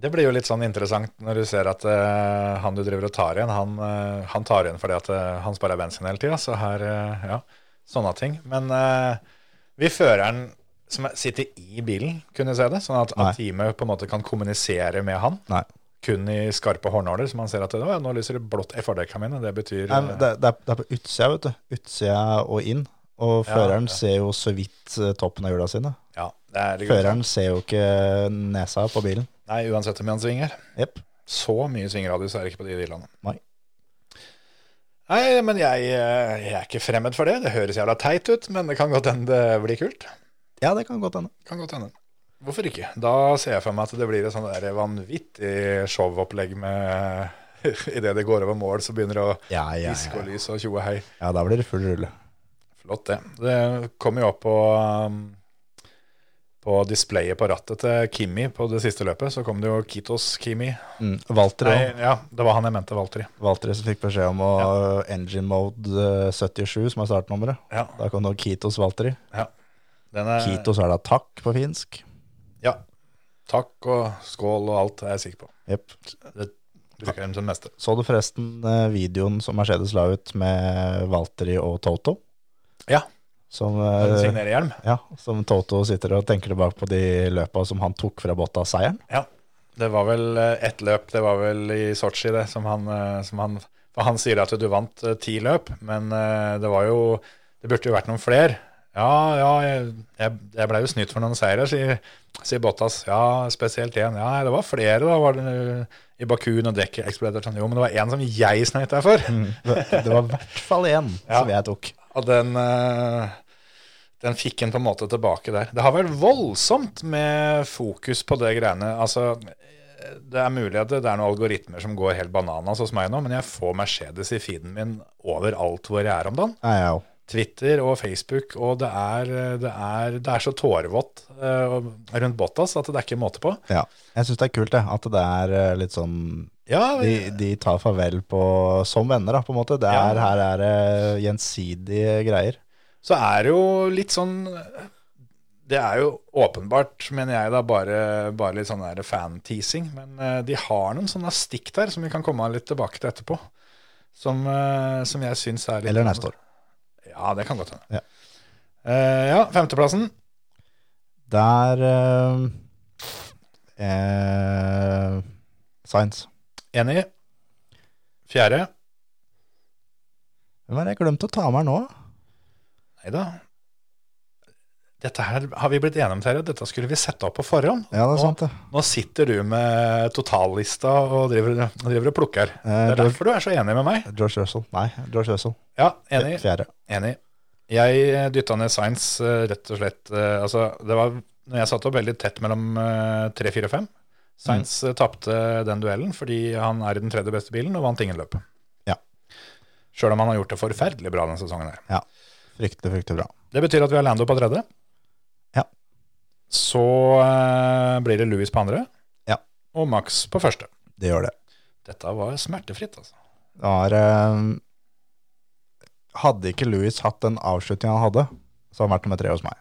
[SPEAKER 1] Det blir jo litt sånn interessant når du ser at eh, han du driver og tar igjen, han, eh, han tar igjen fordi at eh, han sparer bensin hele tida. Så her, eh, ja, sånne ting. Men eh, vil føreren som er- sitter i bilen, kunne se det? Sånn at,
[SPEAKER 4] Nei.
[SPEAKER 1] at teamet på en måte kan kommunisere med han?
[SPEAKER 4] Nei.
[SPEAKER 1] Kun i skarpe hårnåler, så man ser at «Å, ja, nå lyser det blått i fordekka mine. Det betyr
[SPEAKER 4] Nei, men
[SPEAKER 1] eh,
[SPEAKER 4] det, det, er, det er på utsida, vet du. Utsida og inn. Og føreren ser jo så vidt eh, toppen av hjula sine.
[SPEAKER 1] ja, det er
[SPEAKER 4] Føreren ser jo ikke nesa på bilen.
[SPEAKER 1] Nei, uansett om han svinger.
[SPEAKER 4] Jepp.
[SPEAKER 1] Så mye svingradius er det ikke på de bilene.
[SPEAKER 4] Nei.
[SPEAKER 1] Nei, men jeg, eh, jeg er ikke fremmed for det. Det høres jævla teit ut, men det kan godt hende det blir kult.
[SPEAKER 4] Ja, det kan godt hende.
[SPEAKER 1] Kan godt hende. Hvorfor ikke? Da ser jeg for meg at det blir et sånn der vanvittig showopplegg med <laughs> Idet det går over mål, så begynner det å
[SPEAKER 4] Ja, ja,
[SPEAKER 1] diske
[SPEAKER 4] ja.
[SPEAKER 1] og lyse og tjoe hei.
[SPEAKER 4] ja, da blir det full rulle.
[SPEAKER 1] Flott, det. Det kom jo opp på, um, på displayet på rattet til Kimi på det siste løpet. Så kom det jo Kitos Kimi.
[SPEAKER 4] Mm. Valtteri
[SPEAKER 1] Nei,
[SPEAKER 4] også.
[SPEAKER 1] ja, det var han jeg mente, Valtteri.
[SPEAKER 4] Valtteri som fikk beskjed om å engine mode eh, 77, som er startnummeret.
[SPEAKER 1] Ja,
[SPEAKER 4] Da kom det Kitos Valtteri.
[SPEAKER 1] den er,
[SPEAKER 4] Kitos er da takk på finsk.
[SPEAKER 1] Ja. Takk og skål og alt er jeg sikker på.
[SPEAKER 4] Jep.
[SPEAKER 1] Bruker dem som neste.
[SPEAKER 4] Så du forresten eh, videoen som Mercedes la ut med Valtteri og Toto?
[SPEAKER 1] Ja.
[SPEAKER 4] Som,
[SPEAKER 1] Den
[SPEAKER 4] eh,
[SPEAKER 1] signerer hjelm.
[SPEAKER 4] ja, som Toto sitter og tenker tilbake på de løpa som han tok fra Bottas seieren.
[SPEAKER 1] Ja. Det var vel eh, ett løp, det var vel i Sotsji, det, som han, eh, som han For han sier at du vant eh, ti løp, men eh, det var jo Det burde jo vært noen flere. Ja, ja, jeg, jeg, jeg blei jo snytt for noen seire, sier, sier Bottas. Ja, spesielt én. Ja, det var flere, da. Var det, eh, I Baku når dekket eksploderte. Sånn. Jo, men det var én som jeg snøyt deg for.
[SPEAKER 4] Det det var i hvert fall én
[SPEAKER 1] Mm. Ja.
[SPEAKER 4] som jeg tok.
[SPEAKER 1] Og den, eh, den fikk en på en måte tilbake der. Det har vært voldsomt med fokus på det greiene. Altså, det er mulig at det det er noen algoritmer som går helt bananas hos meg nå, men jeg får Mercedes i feeden min overalt hvor jeg er om dagen.
[SPEAKER 4] Nei, jeg òg.
[SPEAKER 1] Twitter og Facebook, og det er, det er, det er så tårevått eh, rundt Bottas at det er ikke måte på.
[SPEAKER 4] Ja. Jeg syns det er kult det, at det er eh, litt sånn
[SPEAKER 1] Ja,
[SPEAKER 4] de, de tar farvel på, som venner, da, på en måte. Det
[SPEAKER 1] Ja.
[SPEAKER 4] er, Her er det gjensidige greier.
[SPEAKER 1] så er det jo litt sånn Det er jo åpenbart, mener jeg, da, bare, bare litt sånn der fan-teasing. Men eh, de har noen sånne stikk der som vi kan komme litt tilbake til etterpå. Som, eh, som jeg syns er litt
[SPEAKER 4] Eller neste år.
[SPEAKER 1] Ja, det kan godt hende.
[SPEAKER 4] Ja.
[SPEAKER 1] Eh, ja, femteplassen.
[SPEAKER 4] Der eh, eh, Science.
[SPEAKER 1] Enig. Fjerde.
[SPEAKER 4] Hvem er det jeg glemte å ta med her nå?
[SPEAKER 1] Nei da. Dette her har vi blitt enige om, Terje. Dette skulle vi sette opp på forhånd.
[SPEAKER 4] Ja, det er sant, det.
[SPEAKER 1] Nå sitter du med totallista og driver, driver og plukker. Det
[SPEAKER 4] Eh,
[SPEAKER 1] er derfor du er så enig med meg.
[SPEAKER 4] George Russell. Nei, George Russell.
[SPEAKER 1] Ja, enig.
[SPEAKER 4] Fjerde.
[SPEAKER 1] Enig. Jeg dytta ned Science eh, rett og slett eh, Altså, det var når jeg satt opp veldig tett mellom eh, tre, fire og fem. Science mm. tapte den duellen fordi han er i den tredje beste bilen og vant ingen løp.
[SPEAKER 4] Ja.
[SPEAKER 1] Sjøl om han har gjort det forferdelig bra denne sesongen her.
[SPEAKER 4] Fryktelig, fryktelig bra.
[SPEAKER 1] Det betyr at vi har Lando på tredje.
[SPEAKER 4] Ja.
[SPEAKER 1] Så eh, blir det Louis på andre.
[SPEAKER 4] Ja.
[SPEAKER 1] Og Max på første.
[SPEAKER 4] Det gjør det.
[SPEAKER 1] Dette var smertefritt, altså.
[SPEAKER 4] Det var eh, ehm, Hadde ikke Louis hatt den avslutningen han hadde, så hadde han vært nummer tre hos meg.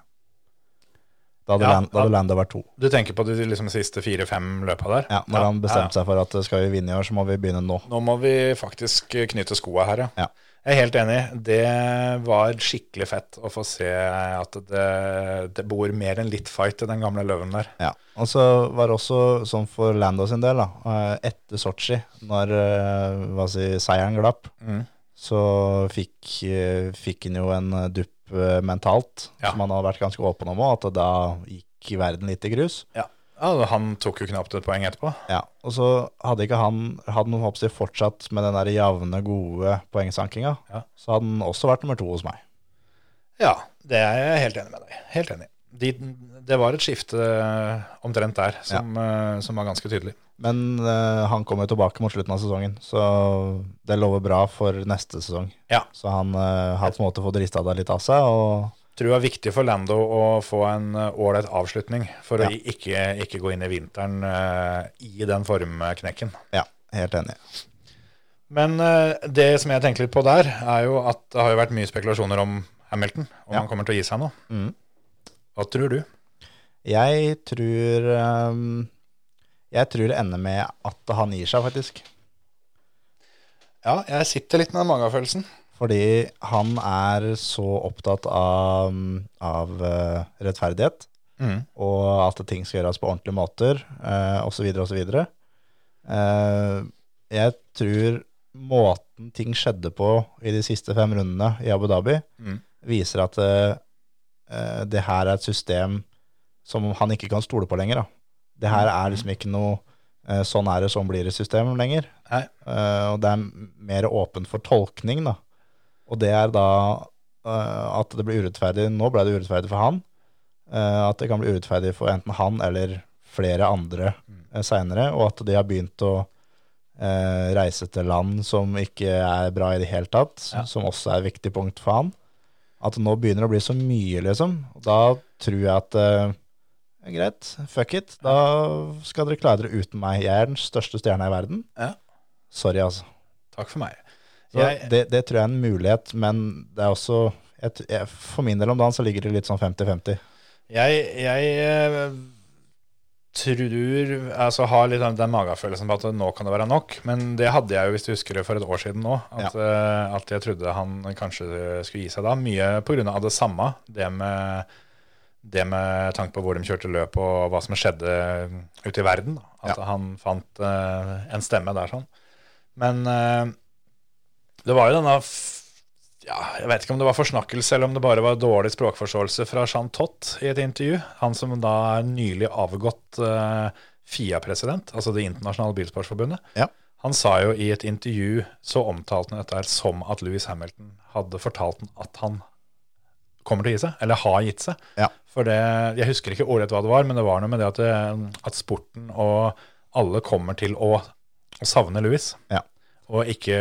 [SPEAKER 4] Da hadde,
[SPEAKER 1] Ja,
[SPEAKER 4] Land, da hadde
[SPEAKER 1] ja.
[SPEAKER 4] Lando vært to.
[SPEAKER 1] Du tenker på de liksom, siste fire-fem løpa der?
[SPEAKER 4] Ja, når han bestemte seg for at eh, skal vi vinne i år, så må vi begynne nå.
[SPEAKER 1] Nå må vi faktisk knytte skoa her,
[SPEAKER 4] Ja.
[SPEAKER 1] Jeg er helt enig. Det var skikkelig fett å få se at det, det bor mer enn litt fight i den gamle løven der.
[SPEAKER 4] Ja. Og så var det også sånn for Lando sin del, da. eh, Etter Sotsji, når eh, hva si, seieren glapp,
[SPEAKER 1] Mm.
[SPEAKER 4] så fikk, eh, fikk han jo en eh, dupp eh, mentalt,
[SPEAKER 1] Ja.
[SPEAKER 4] som han hadde vært ganske åpen om òg, at da gikk verden litt i grus.
[SPEAKER 1] Ja, Han tok jo knapt et poeng etterpå.
[SPEAKER 4] Ja, og så hadde ikke han hadde noen hoppsi fortsatt med den der jevne, gode poengsankinga,
[SPEAKER 1] Ja.
[SPEAKER 4] så hadde han også vært nummer to hos meg.
[SPEAKER 1] Ja, det er jeg helt enig med deg Helt enig. De, det var et skifte eh, omtrent der som, eh, som var ganske tydelig.
[SPEAKER 4] Men eh, han kommer jo tilbake mot slutten av sesongen, så det lover bra for neste sesong.
[SPEAKER 1] Ja.
[SPEAKER 4] Så han eh, har på en måte fått rista deg litt av seg, og
[SPEAKER 1] Tror det var viktig for Lando å få en eh, ålreit avslutning for å ikke, ikke gå inn i vinteren eh, i den formknekken.
[SPEAKER 4] ja, helt enig.
[SPEAKER 1] Men eh, det som jeg tenker litt på der, er jo at det har jo vært mye spekulasjoner om Hamilton, om
[SPEAKER 4] Ja.
[SPEAKER 1] han kommer til å gi seg nå.
[SPEAKER 4] Mhm.
[SPEAKER 1] Hva tror du?
[SPEAKER 4] Jeg tror eh, Jeg tror det ender med at han gir seg, faktisk.
[SPEAKER 1] Ja, jeg sitter litt med den magefølelsen.
[SPEAKER 4] Fordi han er så opptatt av, av eh, rettferdighet.
[SPEAKER 1] Mhm.
[SPEAKER 4] og at ting skal gjøres på ordentlige måter, eh, osv., osv. Eh, jeg tror måten ting skjedde på i de siste fem rundene i Abu Dhabi,
[SPEAKER 1] Mm.
[SPEAKER 4] viser at eh, eh, det her er et system som han ikke kan stole på lenger. Da. Det her er liksom ikke noe eh, sånn er det, sånn blir det systemet lenger.
[SPEAKER 1] Nei.
[SPEAKER 4] Eh, og det er mer åpent for tolkning, da. Og det er da eh, at det blir urettferdig. Nå ble det urettferdig for han. eh, at det kan bli eh, urettferdig for enten han eller flere andre uh, seinere, og at de har begynt å eh, reise til land som ikke er bra i det hele tatt, som også er et viktig punkt for han. At nå begynner det å bli så mye, liksom. Og Da tror jeg at eh, ja, greit, fuck it. Da skal dere klare dere uten meg. Jeg er den største stjerna i verden.
[SPEAKER 1] Ja.
[SPEAKER 4] Sorry, altså.
[SPEAKER 1] Takk for meg.
[SPEAKER 4] Så
[SPEAKER 1] Jeg-
[SPEAKER 4] det, det tror jeg er en mulighet, men det er også jeg, t- jeg, For min del om dagen så ligger det litt sånn 50-50.
[SPEAKER 1] Jeg, jeg eh, tror Altså har litt den- den magefølelsen på at nå kan det være nok. Men det hadde jeg jo, hvis du husker det, for et år siden nå. At, eh, at jeg trodde han kanskje skulle gi seg da. Mye pga. det samme. Det med, det med tanke på hvor de kjørte løp og hva som skjedde ute i verden. Da. At han fant eh, en stemme der sånn. Men eh, det var jo denne f- ja, jeg vet ikke om det var forsnakkelse eller om det bare var dårlig språkforståelse fra Jean Tott i et intervju. Han som da er nylig avgått eh, FIA-president, altså Det internasjonale bilsportsforbundet.
[SPEAKER 4] Ja.
[SPEAKER 1] Han sa jo i et intervju så omtalte han dette her som at Louis Hamilton hadde fortalt han at han kommer til å gi seg, eller har gitt seg.
[SPEAKER 4] Ja.
[SPEAKER 1] For det, jeg husker ikke ordrett hva det var, men det var noe med det at, det, at sporten og alle kommer til å, å savne Louis.
[SPEAKER 4] Ja.
[SPEAKER 1] Og ikke,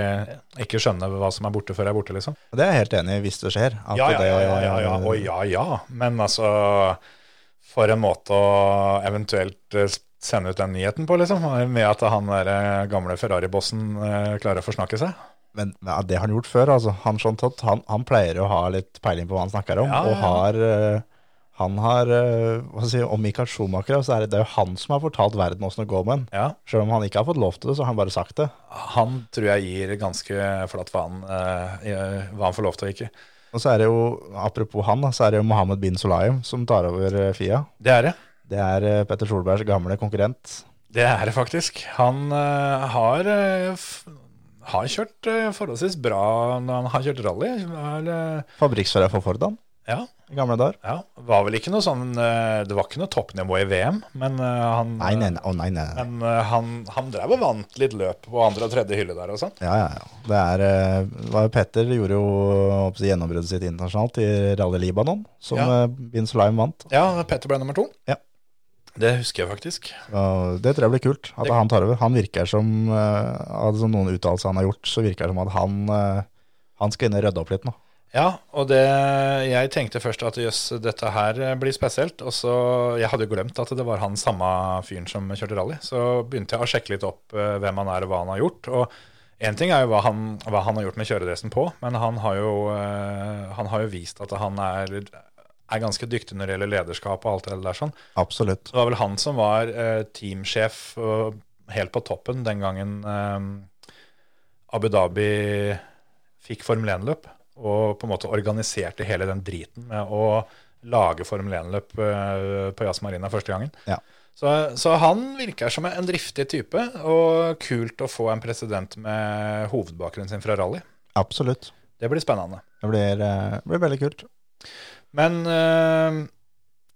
[SPEAKER 1] ikke skjønne hva som er borte før jeg er borte, liksom.
[SPEAKER 4] Og Det er jeg helt enig i, hvis det skjer. at
[SPEAKER 1] Ja, ja,
[SPEAKER 4] det-
[SPEAKER 1] ja, ja, ja, ja. Å, ja, ja. Men altså, for en måte å eventuelt eh, sende ut den nyheten på, liksom. Med at han der eh, gamle Ferrari-bossen eh, klarer å forsnakke seg.
[SPEAKER 4] Men ja, det har han gjort før. altså. Han, Sean Todd, han, han pleier å ha litt peiling på hva han snakker om.
[SPEAKER 1] Ja, ja,
[SPEAKER 4] Og har, eh, han har eh, hva skal jeg si, Om Michael Schumacher, så er det, det er jo han som har fortalt verden åssen det går med ham.
[SPEAKER 1] Ja.
[SPEAKER 4] Selv om han ikke har fått lov til det, så har han bare sagt det.
[SPEAKER 1] Han tror jeg gir ganske flatt faen eh, i hva han får lov til og ikke.
[SPEAKER 4] Og så er det jo, apropos han, da, så er det jo Mohammed bin Solayem som tar over eh, FIA.
[SPEAKER 1] Det er det.
[SPEAKER 4] Det er eh, Petter Solbergs gamle konkurrent.
[SPEAKER 1] Det er det faktisk. Han eh, har, eh, f har kjørt eh, forholdsvis bra når han har kjørt rally. Er, eh,
[SPEAKER 4] Fabrikksfører for Ford, han,
[SPEAKER 1] ja,
[SPEAKER 4] i gamle dager.
[SPEAKER 1] ja. Var vel ikke noe sånn eh, Det var ikke noe toppnivå i VM, men eh, han
[SPEAKER 4] Nei, nei, nei. å, nei, nei, nei.
[SPEAKER 1] Men eh, han, han drev og vant litt løp på andre og tredje hylle der og sånn.
[SPEAKER 4] Ja, ja, ja. Det er, eh, det var jo Petter gjorde jo hva skal jeg si, gjennombruddet sitt internasjonalt i Rally Libanon, som
[SPEAKER 1] Ja.
[SPEAKER 4] eh, bin Solayem vant.
[SPEAKER 1] Ja, Petter ble nummer to.
[SPEAKER 4] Ja.
[SPEAKER 1] Det husker jeg faktisk.
[SPEAKER 4] Og det tror jeg blir kult, at
[SPEAKER 1] Det-
[SPEAKER 4] han tar over. Han virker som, eh, av som noen uttalelser han har gjort, så virker det som at han, eh, han skal inn og rydde opp litt nå.
[SPEAKER 1] Ja, og det Jeg tenkte først at jøss, dette her eh, blir spesielt. Og så Jeg hadde jo glemt at det var han samme fyren som kjørte rally. Så begynte jeg å sjekke litt opp eh, hvem han er og hva han har gjort. Og én ting er jo hva han, hva han har gjort med kjøredressen på, men han har jo, eh, han har jo vist at han er, er ganske dyktig når det gjelder lederskap og alt det der sånn.
[SPEAKER 4] Absolutt.
[SPEAKER 1] Det var vel han som var eh, teamsjef og helt på toppen den gangen eh, Abu Dhabi fikk Formel 1-løp, og på en måte organiserte hele den driten med å lage Formel 1-løp eh, på Jazz Marina første gangen.
[SPEAKER 4] Ja.
[SPEAKER 1] Så, så han virker som en driftig type, og kult å få en president med hovedbakgrunnen sin fra rally.
[SPEAKER 4] Absolutt.
[SPEAKER 1] Det blir spennende.
[SPEAKER 4] Det blir, eh, blir veldig kult.
[SPEAKER 1] Men eh,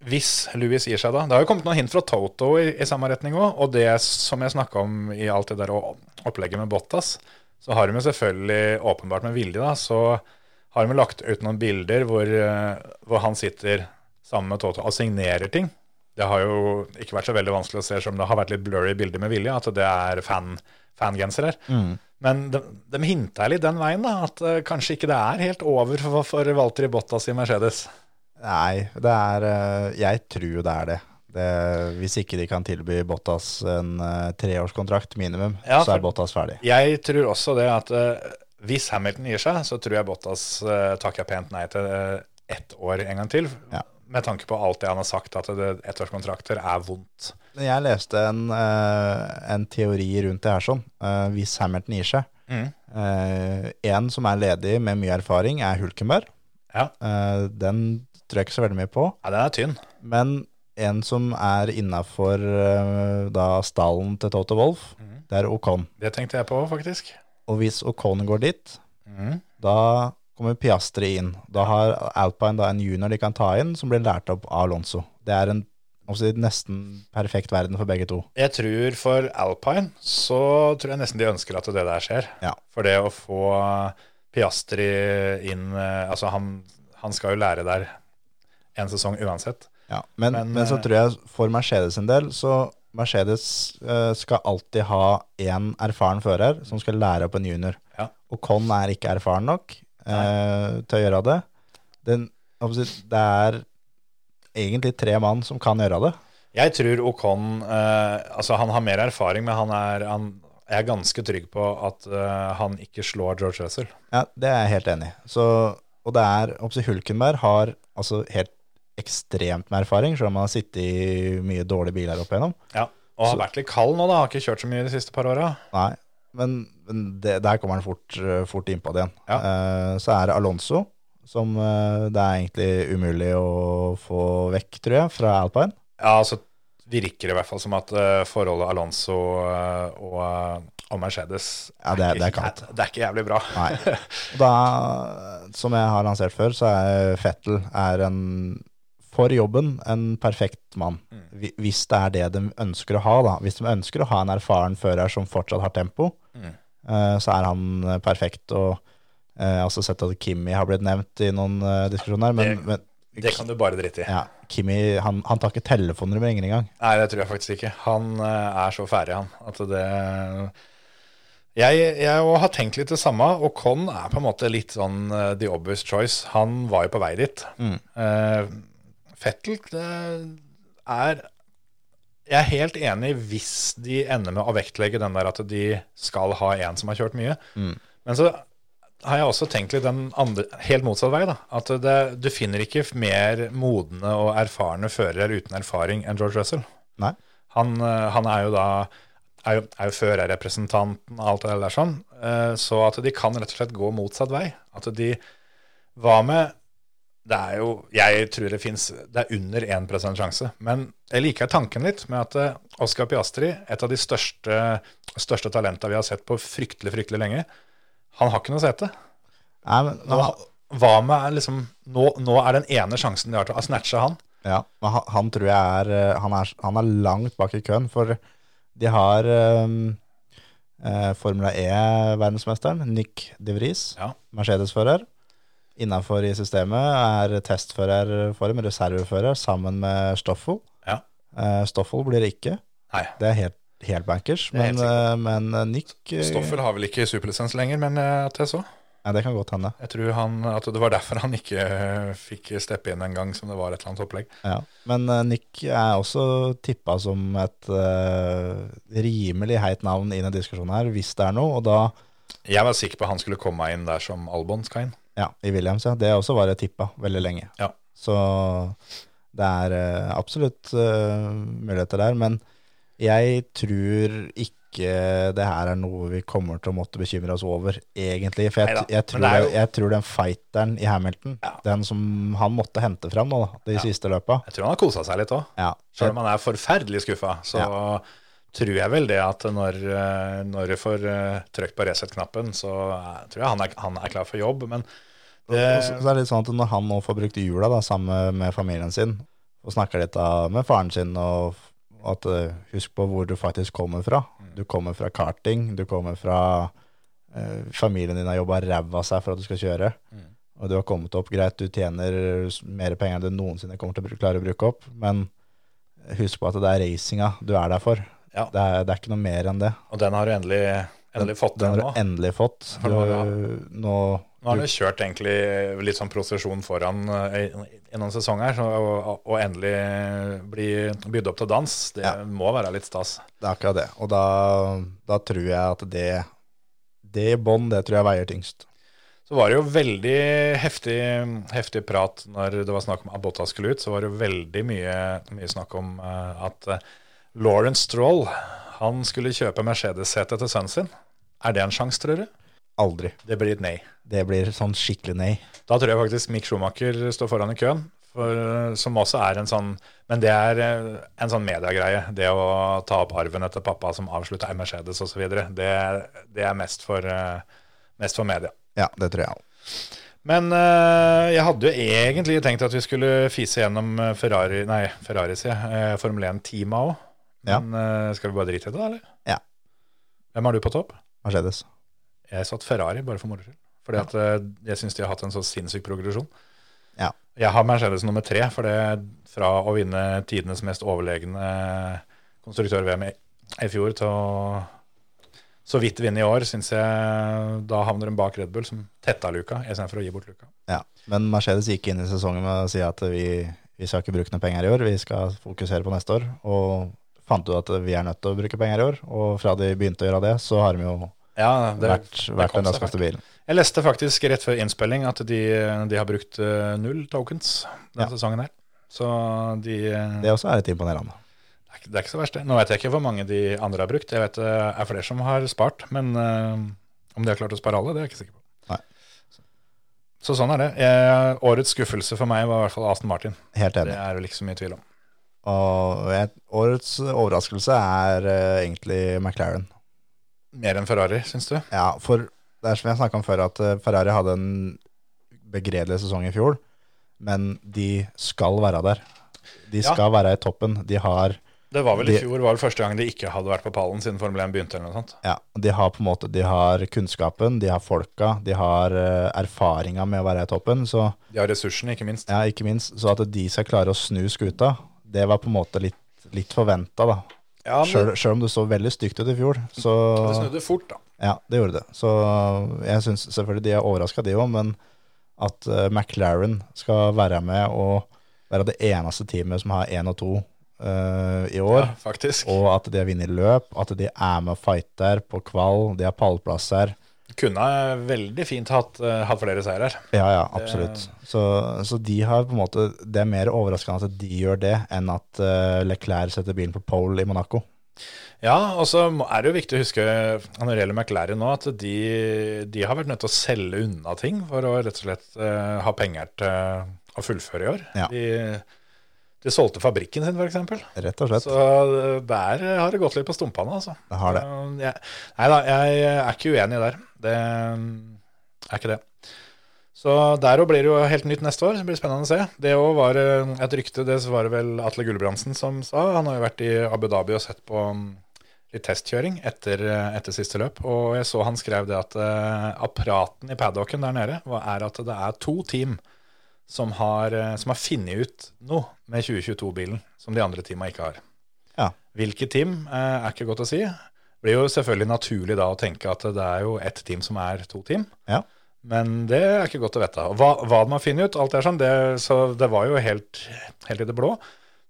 [SPEAKER 1] hvis Louis gir seg da Det har jo kommet noen hint fra Toto i, i samme retning òg. Og det som jeg snakka om i alt det der å- opplegget med Bottas, så har de jo selvfølgelig åpenbart med vilje, da, så har de jo lagt ut noen bilder hvor, eh, hvor han sitter sammen med Toto og signerer ting. Det har jo ikke vært så veldig vanskelig å se, som det har vært litt blurry bilder med vilje, at det er fan, fangenser her. Men de, de hinta litt den veien, da, at eh, kanskje ikke det er helt over for, for Valtteri Bottas i Mercedes.
[SPEAKER 4] Nei, det er eh, Jeg tror jo det er det. det. Hvis ikke de kan tilby Bottas en eh, treårskontrakt minimum,
[SPEAKER 1] Ja,
[SPEAKER 4] så
[SPEAKER 1] for-
[SPEAKER 4] er Bottas ferdig.
[SPEAKER 1] Jeg tror også det at eh, hvis Hamilton gir seg, så tror jeg Bottas eh, takker pent nei til eh, ett år en gang til.
[SPEAKER 4] Ja.
[SPEAKER 1] Med tanke på alt det han har sagt, at det- ettårskontrakter er vondt.
[SPEAKER 4] Men Jeg leste en, eh, en teori rundt det her sånn. Eh, hvis Hamilton gir seg.
[SPEAKER 1] Mm.
[SPEAKER 4] Eh, en som er ledig med mye erfaring, er Hulkenberg.
[SPEAKER 1] Ja.
[SPEAKER 4] Eh, den tror jeg ikke så veldig mye på.
[SPEAKER 1] Ja, den er tynn.
[SPEAKER 4] Men en som er innafor eh, da stallen til Toto Wolff, det er Ocon.
[SPEAKER 1] Det tenkte jeg på, faktisk.
[SPEAKER 4] Og hvis Ocon går dit,
[SPEAKER 1] Mm.
[SPEAKER 4] da kommer Piastri inn. Da har Alpine da en junior de kan ta inn, som blir lært opp av Alonso. Det er en altså, nesten perfekt verden for begge to.
[SPEAKER 1] Jeg tror for Alpine så tror jeg nesten de ønsker at det der skjer.
[SPEAKER 4] Ja.
[SPEAKER 1] For det å få Piastri inn eh, Altså, han, han skal jo lære der en sesong uansett.
[SPEAKER 4] Ja, men,
[SPEAKER 1] Men,
[SPEAKER 4] men, så
[SPEAKER 1] eh,
[SPEAKER 4] tror jeg for Mercedes en del så Mercedes eh, skal alltid ha én erfaren fører som skal lære opp en junior.
[SPEAKER 1] Ja.
[SPEAKER 4] Og Con er ikke erfaren nok eh, til å gjøre det. Den, hva skal jeg si, det er egentlig tre mann som kan gjøre det.
[SPEAKER 1] Jeg tror Ocon eh, Altså, han har mer erfaring, men han er han, Jeg er ganske trygg på at eh, han ikke slår George Russell.
[SPEAKER 4] Ja, Det er jeg helt enig i. Så, og det er hva skal jeg si, Hulkenberg har altså helt ekstremt med erfaring, selv om han har sittet i mye dårlige biler opp igjennom.
[SPEAKER 1] Ja. Og har vært litt kald nå, da. Har ikke kjørt så mye de siste par åra.
[SPEAKER 4] Nei, men, men det, der kommer han fort, eh, fort innpå det igjen.
[SPEAKER 1] Ja.
[SPEAKER 4] Eh, så er det Alonso, som eh, det er egentlig umulig å få vekk, tror jeg, fra Alpine.
[SPEAKER 1] Ja, altså virker det i hvert fall som at eh, forholdet Alonso eh, og, og Mercedes
[SPEAKER 4] Ja, det er- det er
[SPEAKER 1] ikke-
[SPEAKER 4] kaldt.
[SPEAKER 1] det er ikke jævlig bra.
[SPEAKER 4] Nei. Og da, som jeg har lansert før, så er Fettel er en, for jobben en perfekt mann.
[SPEAKER 1] Mm.
[SPEAKER 4] Hvi- Hvis det er det de ønsker å ha, da. Hvis de ønsker å ha en erfaren fører som fortsatt har tempo,
[SPEAKER 1] Mm.
[SPEAKER 4] eh, så er han eh, perfekt. Og eh, jeg har også sett at Kimi har blitt nevnt i noen eh, diskusjoner, men,
[SPEAKER 1] Det-
[SPEAKER 4] men
[SPEAKER 1] Det kan du bare drite i.
[SPEAKER 4] Ja, Kimi han, han tar ikke telefoner med ringer engang.
[SPEAKER 1] Nei, det tror jeg faktisk ikke. Han eh, er så ferdig, han. At det Jeg, jeg jo har tenkt litt det samme, og Con er på en måte litt sånn eh, the obvious choice. Han var jo på vei dit. Eh, Fettel eh, er Jeg er helt enig hvis de ender med å vektlegge den der at de skal ha en som har kjørt mye. Men så har jeg også tenkt litt den andre, helt motsatt vei. da, At det, du finner ikke mer modne og erfarne førere uten erfaring enn George Russell.
[SPEAKER 4] Nei.
[SPEAKER 1] Han, eh, han er jo da er jo, er jo førerrepresentanten og alt det der sånn. Eh, Så at de kan rett og slett gå motsatt vei. At de Hva med Det er jo Jeg tror det fins Det er under 1 sjanse. Men jeg liker tanken litt med at eh, Oscar Piastri, et av de største, største talenta vi har sett på fryktelig, fryktelig lenge, han har ikke noe sete.
[SPEAKER 4] Nei, men,
[SPEAKER 1] Nå,
[SPEAKER 4] men, han-
[SPEAKER 1] hva med liksom nå, nå er den ene sjansen de har til å snatche han.
[SPEAKER 4] ja, men han, han tror jeg er eh, han, er han er langt bak i køen, for de har ehm, eh, Formula E-verdensmesteren Nick de Vries,
[SPEAKER 1] Ja.
[SPEAKER 4] Mercedes-fører. Innafor i systemet er testfører for dem, reservefører, sammen med Stoffel.
[SPEAKER 1] Ja.
[SPEAKER 4] Eh, Stoffel blir det ikke.
[SPEAKER 1] Nei.
[SPEAKER 4] Det er helt, helt bankers,
[SPEAKER 1] er helt
[SPEAKER 4] men, eh, men eh, Nick eh,
[SPEAKER 1] Stoffel har vel ikke superlisens lenger, men eh, at jeg så.
[SPEAKER 4] ja, Det kan godt hende.
[SPEAKER 1] Jeg tror han, at det var derfor han ikke eh, fikk steppe inn en gang som det var et eller annet opplegg.
[SPEAKER 4] Ja, men eh, Nick er også tippa som et eh, rimelig heit navn i denne diskusjonen her, hvis det er noe. Og da,
[SPEAKER 1] Jeg var sikker på han skulle komme inn der som Albon skal inn.
[SPEAKER 4] ja, i Williams, ja. Det også var det tippa veldig lenge.
[SPEAKER 1] Ja.
[SPEAKER 4] Så det er eh, absolutt eh, muligheter der. Men jeg tror ikke det her er noe vi kommer til å måtte bekymre oss over, egentlig. For jeg,
[SPEAKER 1] Neida,
[SPEAKER 4] jeg,
[SPEAKER 1] men
[SPEAKER 4] tror,
[SPEAKER 1] det er jo-
[SPEAKER 4] jeg, tror den fighteren i Hamilton,
[SPEAKER 1] Ja.
[SPEAKER 4] den som han måtte hente fram nå, da, de siste løpa
[SPEAKER 1] Jeg tror han har kosa seg litt òg.
[SPEAKER 4] ja,
[SPEAKER 1] Selv om han er forferdelig skuffa, så tror jeg vel det at når, eh, når du får eh, trykt på reset-knappen, så eh, tror jeg han er, han er klar for jobb. Men det,
[SPEAKER 4] Og så, så er det litt sånn at når han nå får brukt jula da, sammen med familien sin, og snakker litt da, med faren sin, og f- at eh, husk på hvor du faktisk kommer fra.
[SPEAKER 1] Mm.
[SPEAKER 4] Du kommer fra karting, du kommer fra eh, familien din har jobba ræva av seg for at du skal kjøre,
[SPEAKER 1] Mm.
[SPEAKER 4] og du har kommet opp greit, du tjener s- mer penger enn du noensinne kommer til å bru- klare å bruke opp, men eh, husk på at det er racinga du er der for.
[SPEAKER 1] Ja.
[SPEAKER 4] Det, er, det er ikke noe mer enn det.
[SPEAKER 1] og den har du endelig, endelig fått den
[SPEAKER 4] Den har
[SPEAKER 1] nå.
[SPEAKER 4] du endelig fått. Du, nå,
[SPEAKER 1] Nå har du kjørt egentlig litt sånn prosesjon foran eh, i i noen sesonger, så å, å endelig bli bydd opp til dans, det
[SPEAKER 4] Ja.
[SPEAKER 1] må være litt stas.
[SPEAKER 4] Det er akkurat det. Og da, da tror jeg at det Det i bånn, det tror jeg veier tyngst.
[SPEAKER 1] Så var det jo veldig heftig, heftig prat når det var snakk om at Bottas skulle ut. Så var det jo veldig mye, mye snakk om eh, at eh, Lawrence Stroll han skulle kjøpe Mercedes-sete til sønnen sin. Er det en sjanse, tror du?
[SPEAKER 4] Aldri.
[SPEAKER 1] Det blir et nei.
[SPEAKER 4] Det blir sånn skikkelig nei.
[SPEAKER 1] Da tror jeg faktisk Mick Schumacher står foran i køen, for, eh, som også er en sånn Men det er eh, en sånn mediegreie. Det å ta opp arven etter pappa som avslutta i Mercedes osv. Det, det er mest for, eh, mest for media.
[SPEAKER 4] Ja, det tror jeg òg.
[SPEAKER 1] Men eh, jeg hadde jo egentlig tenkt at vi skulle fise gjennom eh, Ferrari, nei, Ferrari sier jeg, eh, Formel 1-teama òg.
[SPEAKER 4] Ja.
[SPEAKER 1] Men eh, skal vi bare drite i det, da, eller?
[SPEAKER 4] Ja.
[SPEAKER 1] Hvem har du på topp?
[SPEAKER 4] Mercedes.
[SPEAKER 1] Jeg satt Ferrari, bare for moro skyld. Fordi at eh, jeg syns de har hatt en så sinnssyk progresjon.
[SPEAKER 4] Ja.
[SPEAKER 1] Jeg har Mercedes nummer tre, for det fra å vinne tidenes mest overlegne konstruktør-VM i, i fjor til å så vidt vinne i år, syns jeg da havner de bak Red Bull, som tetta luka istedenfor å gi bort luka.
[SPEAKER 4] Ja. Men Mercedes gikk inn i sesongen med å si at vi, vi skal ikke bruke noe penger i år, vi skal fokusere på neste år. Og fant ut at vi er nødt til å bruke penger i år, og fra de begynte å gjøre det, så har de jo
[SPEAKER 1] Ja, det,
[SPEAKER 4] vært, vært
[SPEAKER 1] kom
[SPEAKER 4] den
[SPEAKER 1] seg
[SPEAKER 4] raskeste
[SPEAKER 1] fælt.
[SPEAKER 4] bilen.
[SPEAKER 1] Jeg leste faktisk rett før innspilling at de, de har brukt eh, null tokens denne
[SPEAKER 4] Ja.
[SPEAKER 1] sesongen her. Så de eh, det,
[SPEAKER 4] Det også er litt imponerende.
[SPEAKER 1] er, ikke- det er ikke så verst, det. Nå vet jeg ikke hvor mange de andre har brukt. Jeg vet det er flere som har spart, men eh, om de har klart å spare alle, det er jeg ikke sikker på.
[SPEAKER 4] Nei.
[SPEAKER 1] Så sånn er det. Jeg, årets skuffelse for meg var i hvert fall Aston Martin.
[SPEAKER 4] Helt
[SPEAKER 1] Det
[SPEAKER 4] enig.
[SPEAKER 1] er det liksom mye tvil om.
[SPEAKER 4] Og jeg, årets overraskelse er eh, egentlig McLaren.
[SPEAKER 1] Mer enn Ferrari, syns du?
[SPEAKER 4] Ja, for det er som jeg snakka om før, at eh, Ferrari hadde en begredelig sesong i fjor. Men de skal være der. De
[SPEAKER 1] Ja.
[SPEAKER 4] skal være i toppen. De har,
[SPEAKER 1] Det var vel i
[SPEAKER 4] Det-
[SPEAKER 1] fjor var vel første gang de ikke hadde vært på pallen siden Formel 1 begynte. eller noe sånt.
[SPEAKER 4] ja, de har på en måte De har kunnskapen, de har folka, de har eh, erfaringa med å være i toppen. Så
[SPEAKER 1] De har ressursene, ikke minst.
[SPEAKER 4] ja, ikke minst, så at de skal klare å snu skuta, det var på en måte litt, litt forventa, da.
[SPEAKER 1] Ja, men
[SPEAKER 4] Sjøl om det så veldig stygt ut i fjor, så
[SPEAKER 1] det snudde fort, da.
[SPEAKER 4] Ja, det gjorde det. Så jeg syns selvfølgelig de er overraska, de òg, men at eh, McLaren skal være med og være det eneste teamet som har én og to eh, i år,
[SPEAKER 1] Ja, faktisk.
[SPEAKER 4] og at de har vunnet løp, at de er med og fighter på kval, de har pallplasser
[SPEAKER 1] Kunne veldig fint hatt, eh, hatt flere seirer.
[SPEAKER 4] Ja, ja, absolutt. Så, så de har på en måte Det er mer overraskende at de gjør det, enn at eh, Leclerc setter bilen på pole i Monaco.
[SPEAKER 1] Ja, og så må- er det jo viktig å huske når det gjelder McLaren nå, at de, de har vært nødt til å selge unna ting for å rett og slett eh, ha penger til å fullføre i år.
[SPEAKER 4] Ja.
[SPEAKER 1] De, de solgte fabrikken sin, f.eks.
[SPEAKER 4] Rett og slett.
[SPEAKER 1] Så eh, der har det gått litt på stumpa nå, altså.
[SPEAKER 4] Det har det.
[SPEAKER 1] Så Jeg, nei da, jeg er ikke uenig der. Det er ikke det. Så der òg blir det jo helt nytt neste år. Det blir spennende å se. Det òg var eh, et rykte, det var det vel Atle Gulbrandsen som sa. Han har jo vært i Abu Dhabi og sett på mm, litt testkjøring etter, eh, etter siste løp. Og jeg så han skrev det at eh, apparaten i paddocken der nede hva er at det er to team som har, eh, som har funnet ut noe med 2022-bilen som de andre teama ikke har.
[SPEAKER 4] Ja.
[SPEAKER 1] Hvilke team eh, er ikke godt å si. Det blir jo selvfølgelig naturlig da å tenke at det er jo ett team som er to team.
[SPEAKER 4] Ja.
[SPEAKER 1] Men det er ikke godt å vite. Og Hva, hva de har funnet ut, alt det er sånn, det, så det var jo helt, helt i det blå.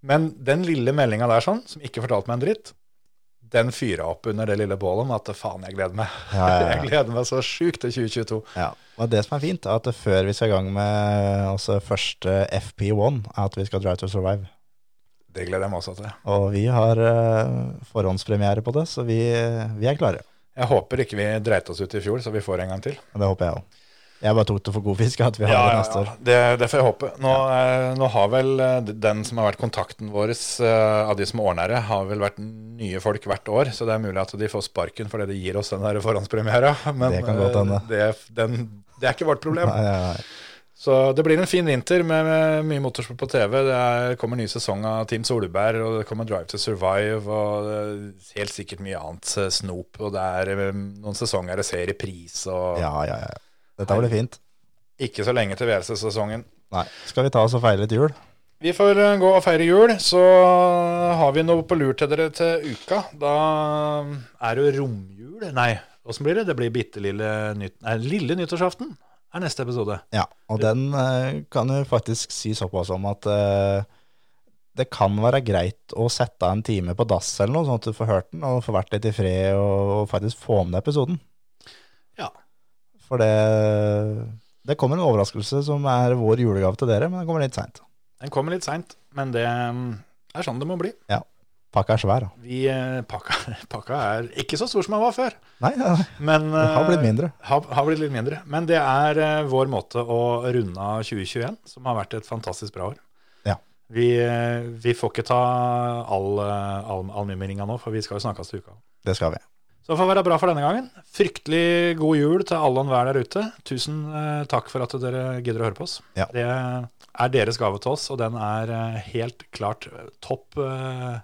[SPEAKER 1] Men den lille meldinga der sånn, som ikke fortalte meg en dritt, den fyra opp under det lille bålet med at faen, jeg gleder meg.
[SPEAKER 4] Ja, ja,
[SPEAKER 1] <laughs>
[SPEAKER 4] ja.
[SPEAKER 1] Jeg gleder meg så sjukt til 2022.
[SPEAKER 4] Ja, og det som er fint er at før vi skal i gang med altså første FP1, er at vi skal Drive to Survive.
[SPEAKER 1] Det gleder jeg meg også til.
[SPEAKER 4] Og vi har eh, forhåndspremiere på det, så vi, vi er klare.
[SPEAKER 1] Jeg håper ikke vi dreit oss ut i fjor, så vi får en gang til.
[SPEAKER 4] Og Det håper jeg òg. Jeg bare tok det for god fisk at vi har det neste år.
[SPEAKER 1] Det, det får jeg håpe. Nå, eh, nå har vel eh, den som har vært kontakten vår eh, av de som ordner det, har vel vært nye folk hvert år, så det er mulig at de får sparken fordi de gir oss den der forhåndspremiera. <laughs> Men
[SPEAKER 4] Det kan godt
[SPEAKER 1] eh,
[SPEAKER 4] hende.
[SPEAKER 1] det, den, det er ikke vårt problem.
[SPEAKER 4] Nei, nei, nei.
[SPEAKER 1] Så det blir en fin vinter med, med mye motorsport på TV. Det er, kommer ny sesong av Team Solberg, og det kommer Drive to Survive, og det er helt sikkert mye annet eh, snop. Og det er eh, noen sesonger jeg ser i pris, og
[SPEAKER 4] Ja, ja, ja. Dette blir fint.
[SPEAKER 1] ikke så lenge til VLC-sesongen.
[SPEAKER 4] Nei. Skal vi ta oss og feire litt jul?
[SPEAKER 1] Vi får eh, gå og feire jul, så eh, har vi noe på lur til dere til uka. Da eh, er det jo romjul. Nei, åssen blir det? Det blir bitte lille, nytt, nei, lille nyttårsaften er neste episode.
[SPEAKER 4] Ja, og den eh, kan jo faktisk si såpass om at eh, det kan være greit å sette av en time på dass eller noe, sånn at du får hørt den og får vært litt i fred og, og faktisk få med deg episoden.
[SPEAKER 1] Ja.
[SPEAKER 4] For det, det kommer en overraskelse som er vår julegave til dere, men den kommer litt seint.
[SPEAKER 1] Den kommer litt seint, men det mm, er sånn det må bli.
[SPEAKER 4] Pakka er svær, da.
[SPEAKER 1] Vi, eh, pakka, <laughs> pakka er ikke så stor som den var før,
[SPEAKER 4] Nei, nei, nei,
[SPEAKER 1] men
[SPEAKER 4] den har blitt
[SPEAKER 1] eh,
[SPEAKER 4] mindre.
[SPEAKER 1] Har, har blitt litt mindre. Men det er eh, vår måte å runde av 2021, som har vært et fantastisk bra år.
[SPEAKER 4] Ja.
[SPEAKER 1] Vi, eh, vi får ikke ta all, eh, all, all mimringa nå, for vi skal jo snakkes til uka.
[SPEAKER 4] Det skal vi.
[SPEAKER 1] Så det får være bra for denne gangen. Fryktelig god jul til alle og enhver der ute. Tusen eh, takk for at dere gidder å høre på oss.
[SPEAKER 4] Ja.
[SPEAKER 1] Det er deres gave til oss, og den er eh, helt klart topp eh,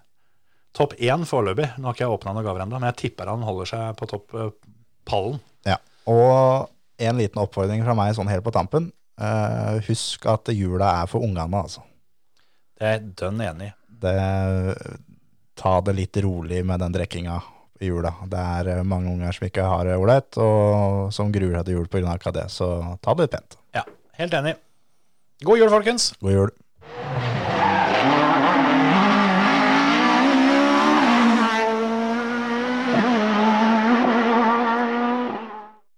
[SPEAKER 1] Topp én foreløpig. Nå har ikke jeg åpna noen gaver ennå, men jeg tipper han holder seg på topp eh, pallen.
[SPEAKER 4] Ja. Og en liten oppfordring fra meg sånn helt på tampen. Eh, husk at jula er for ungene, altså.
[SPEAKER 1] Det er jeg dønn enig i.
[SPEAKER 4] Det, ta det litt rolig med den drikkinga i jula. Det er eh, mange unger som ikke har det ålreit, og som gruer seg til jul pga. det. Så ta det litt pent.
[SPEAKER 1] Ja, helt enig. God jul, folkens!
[SPEAKER 4] God jul.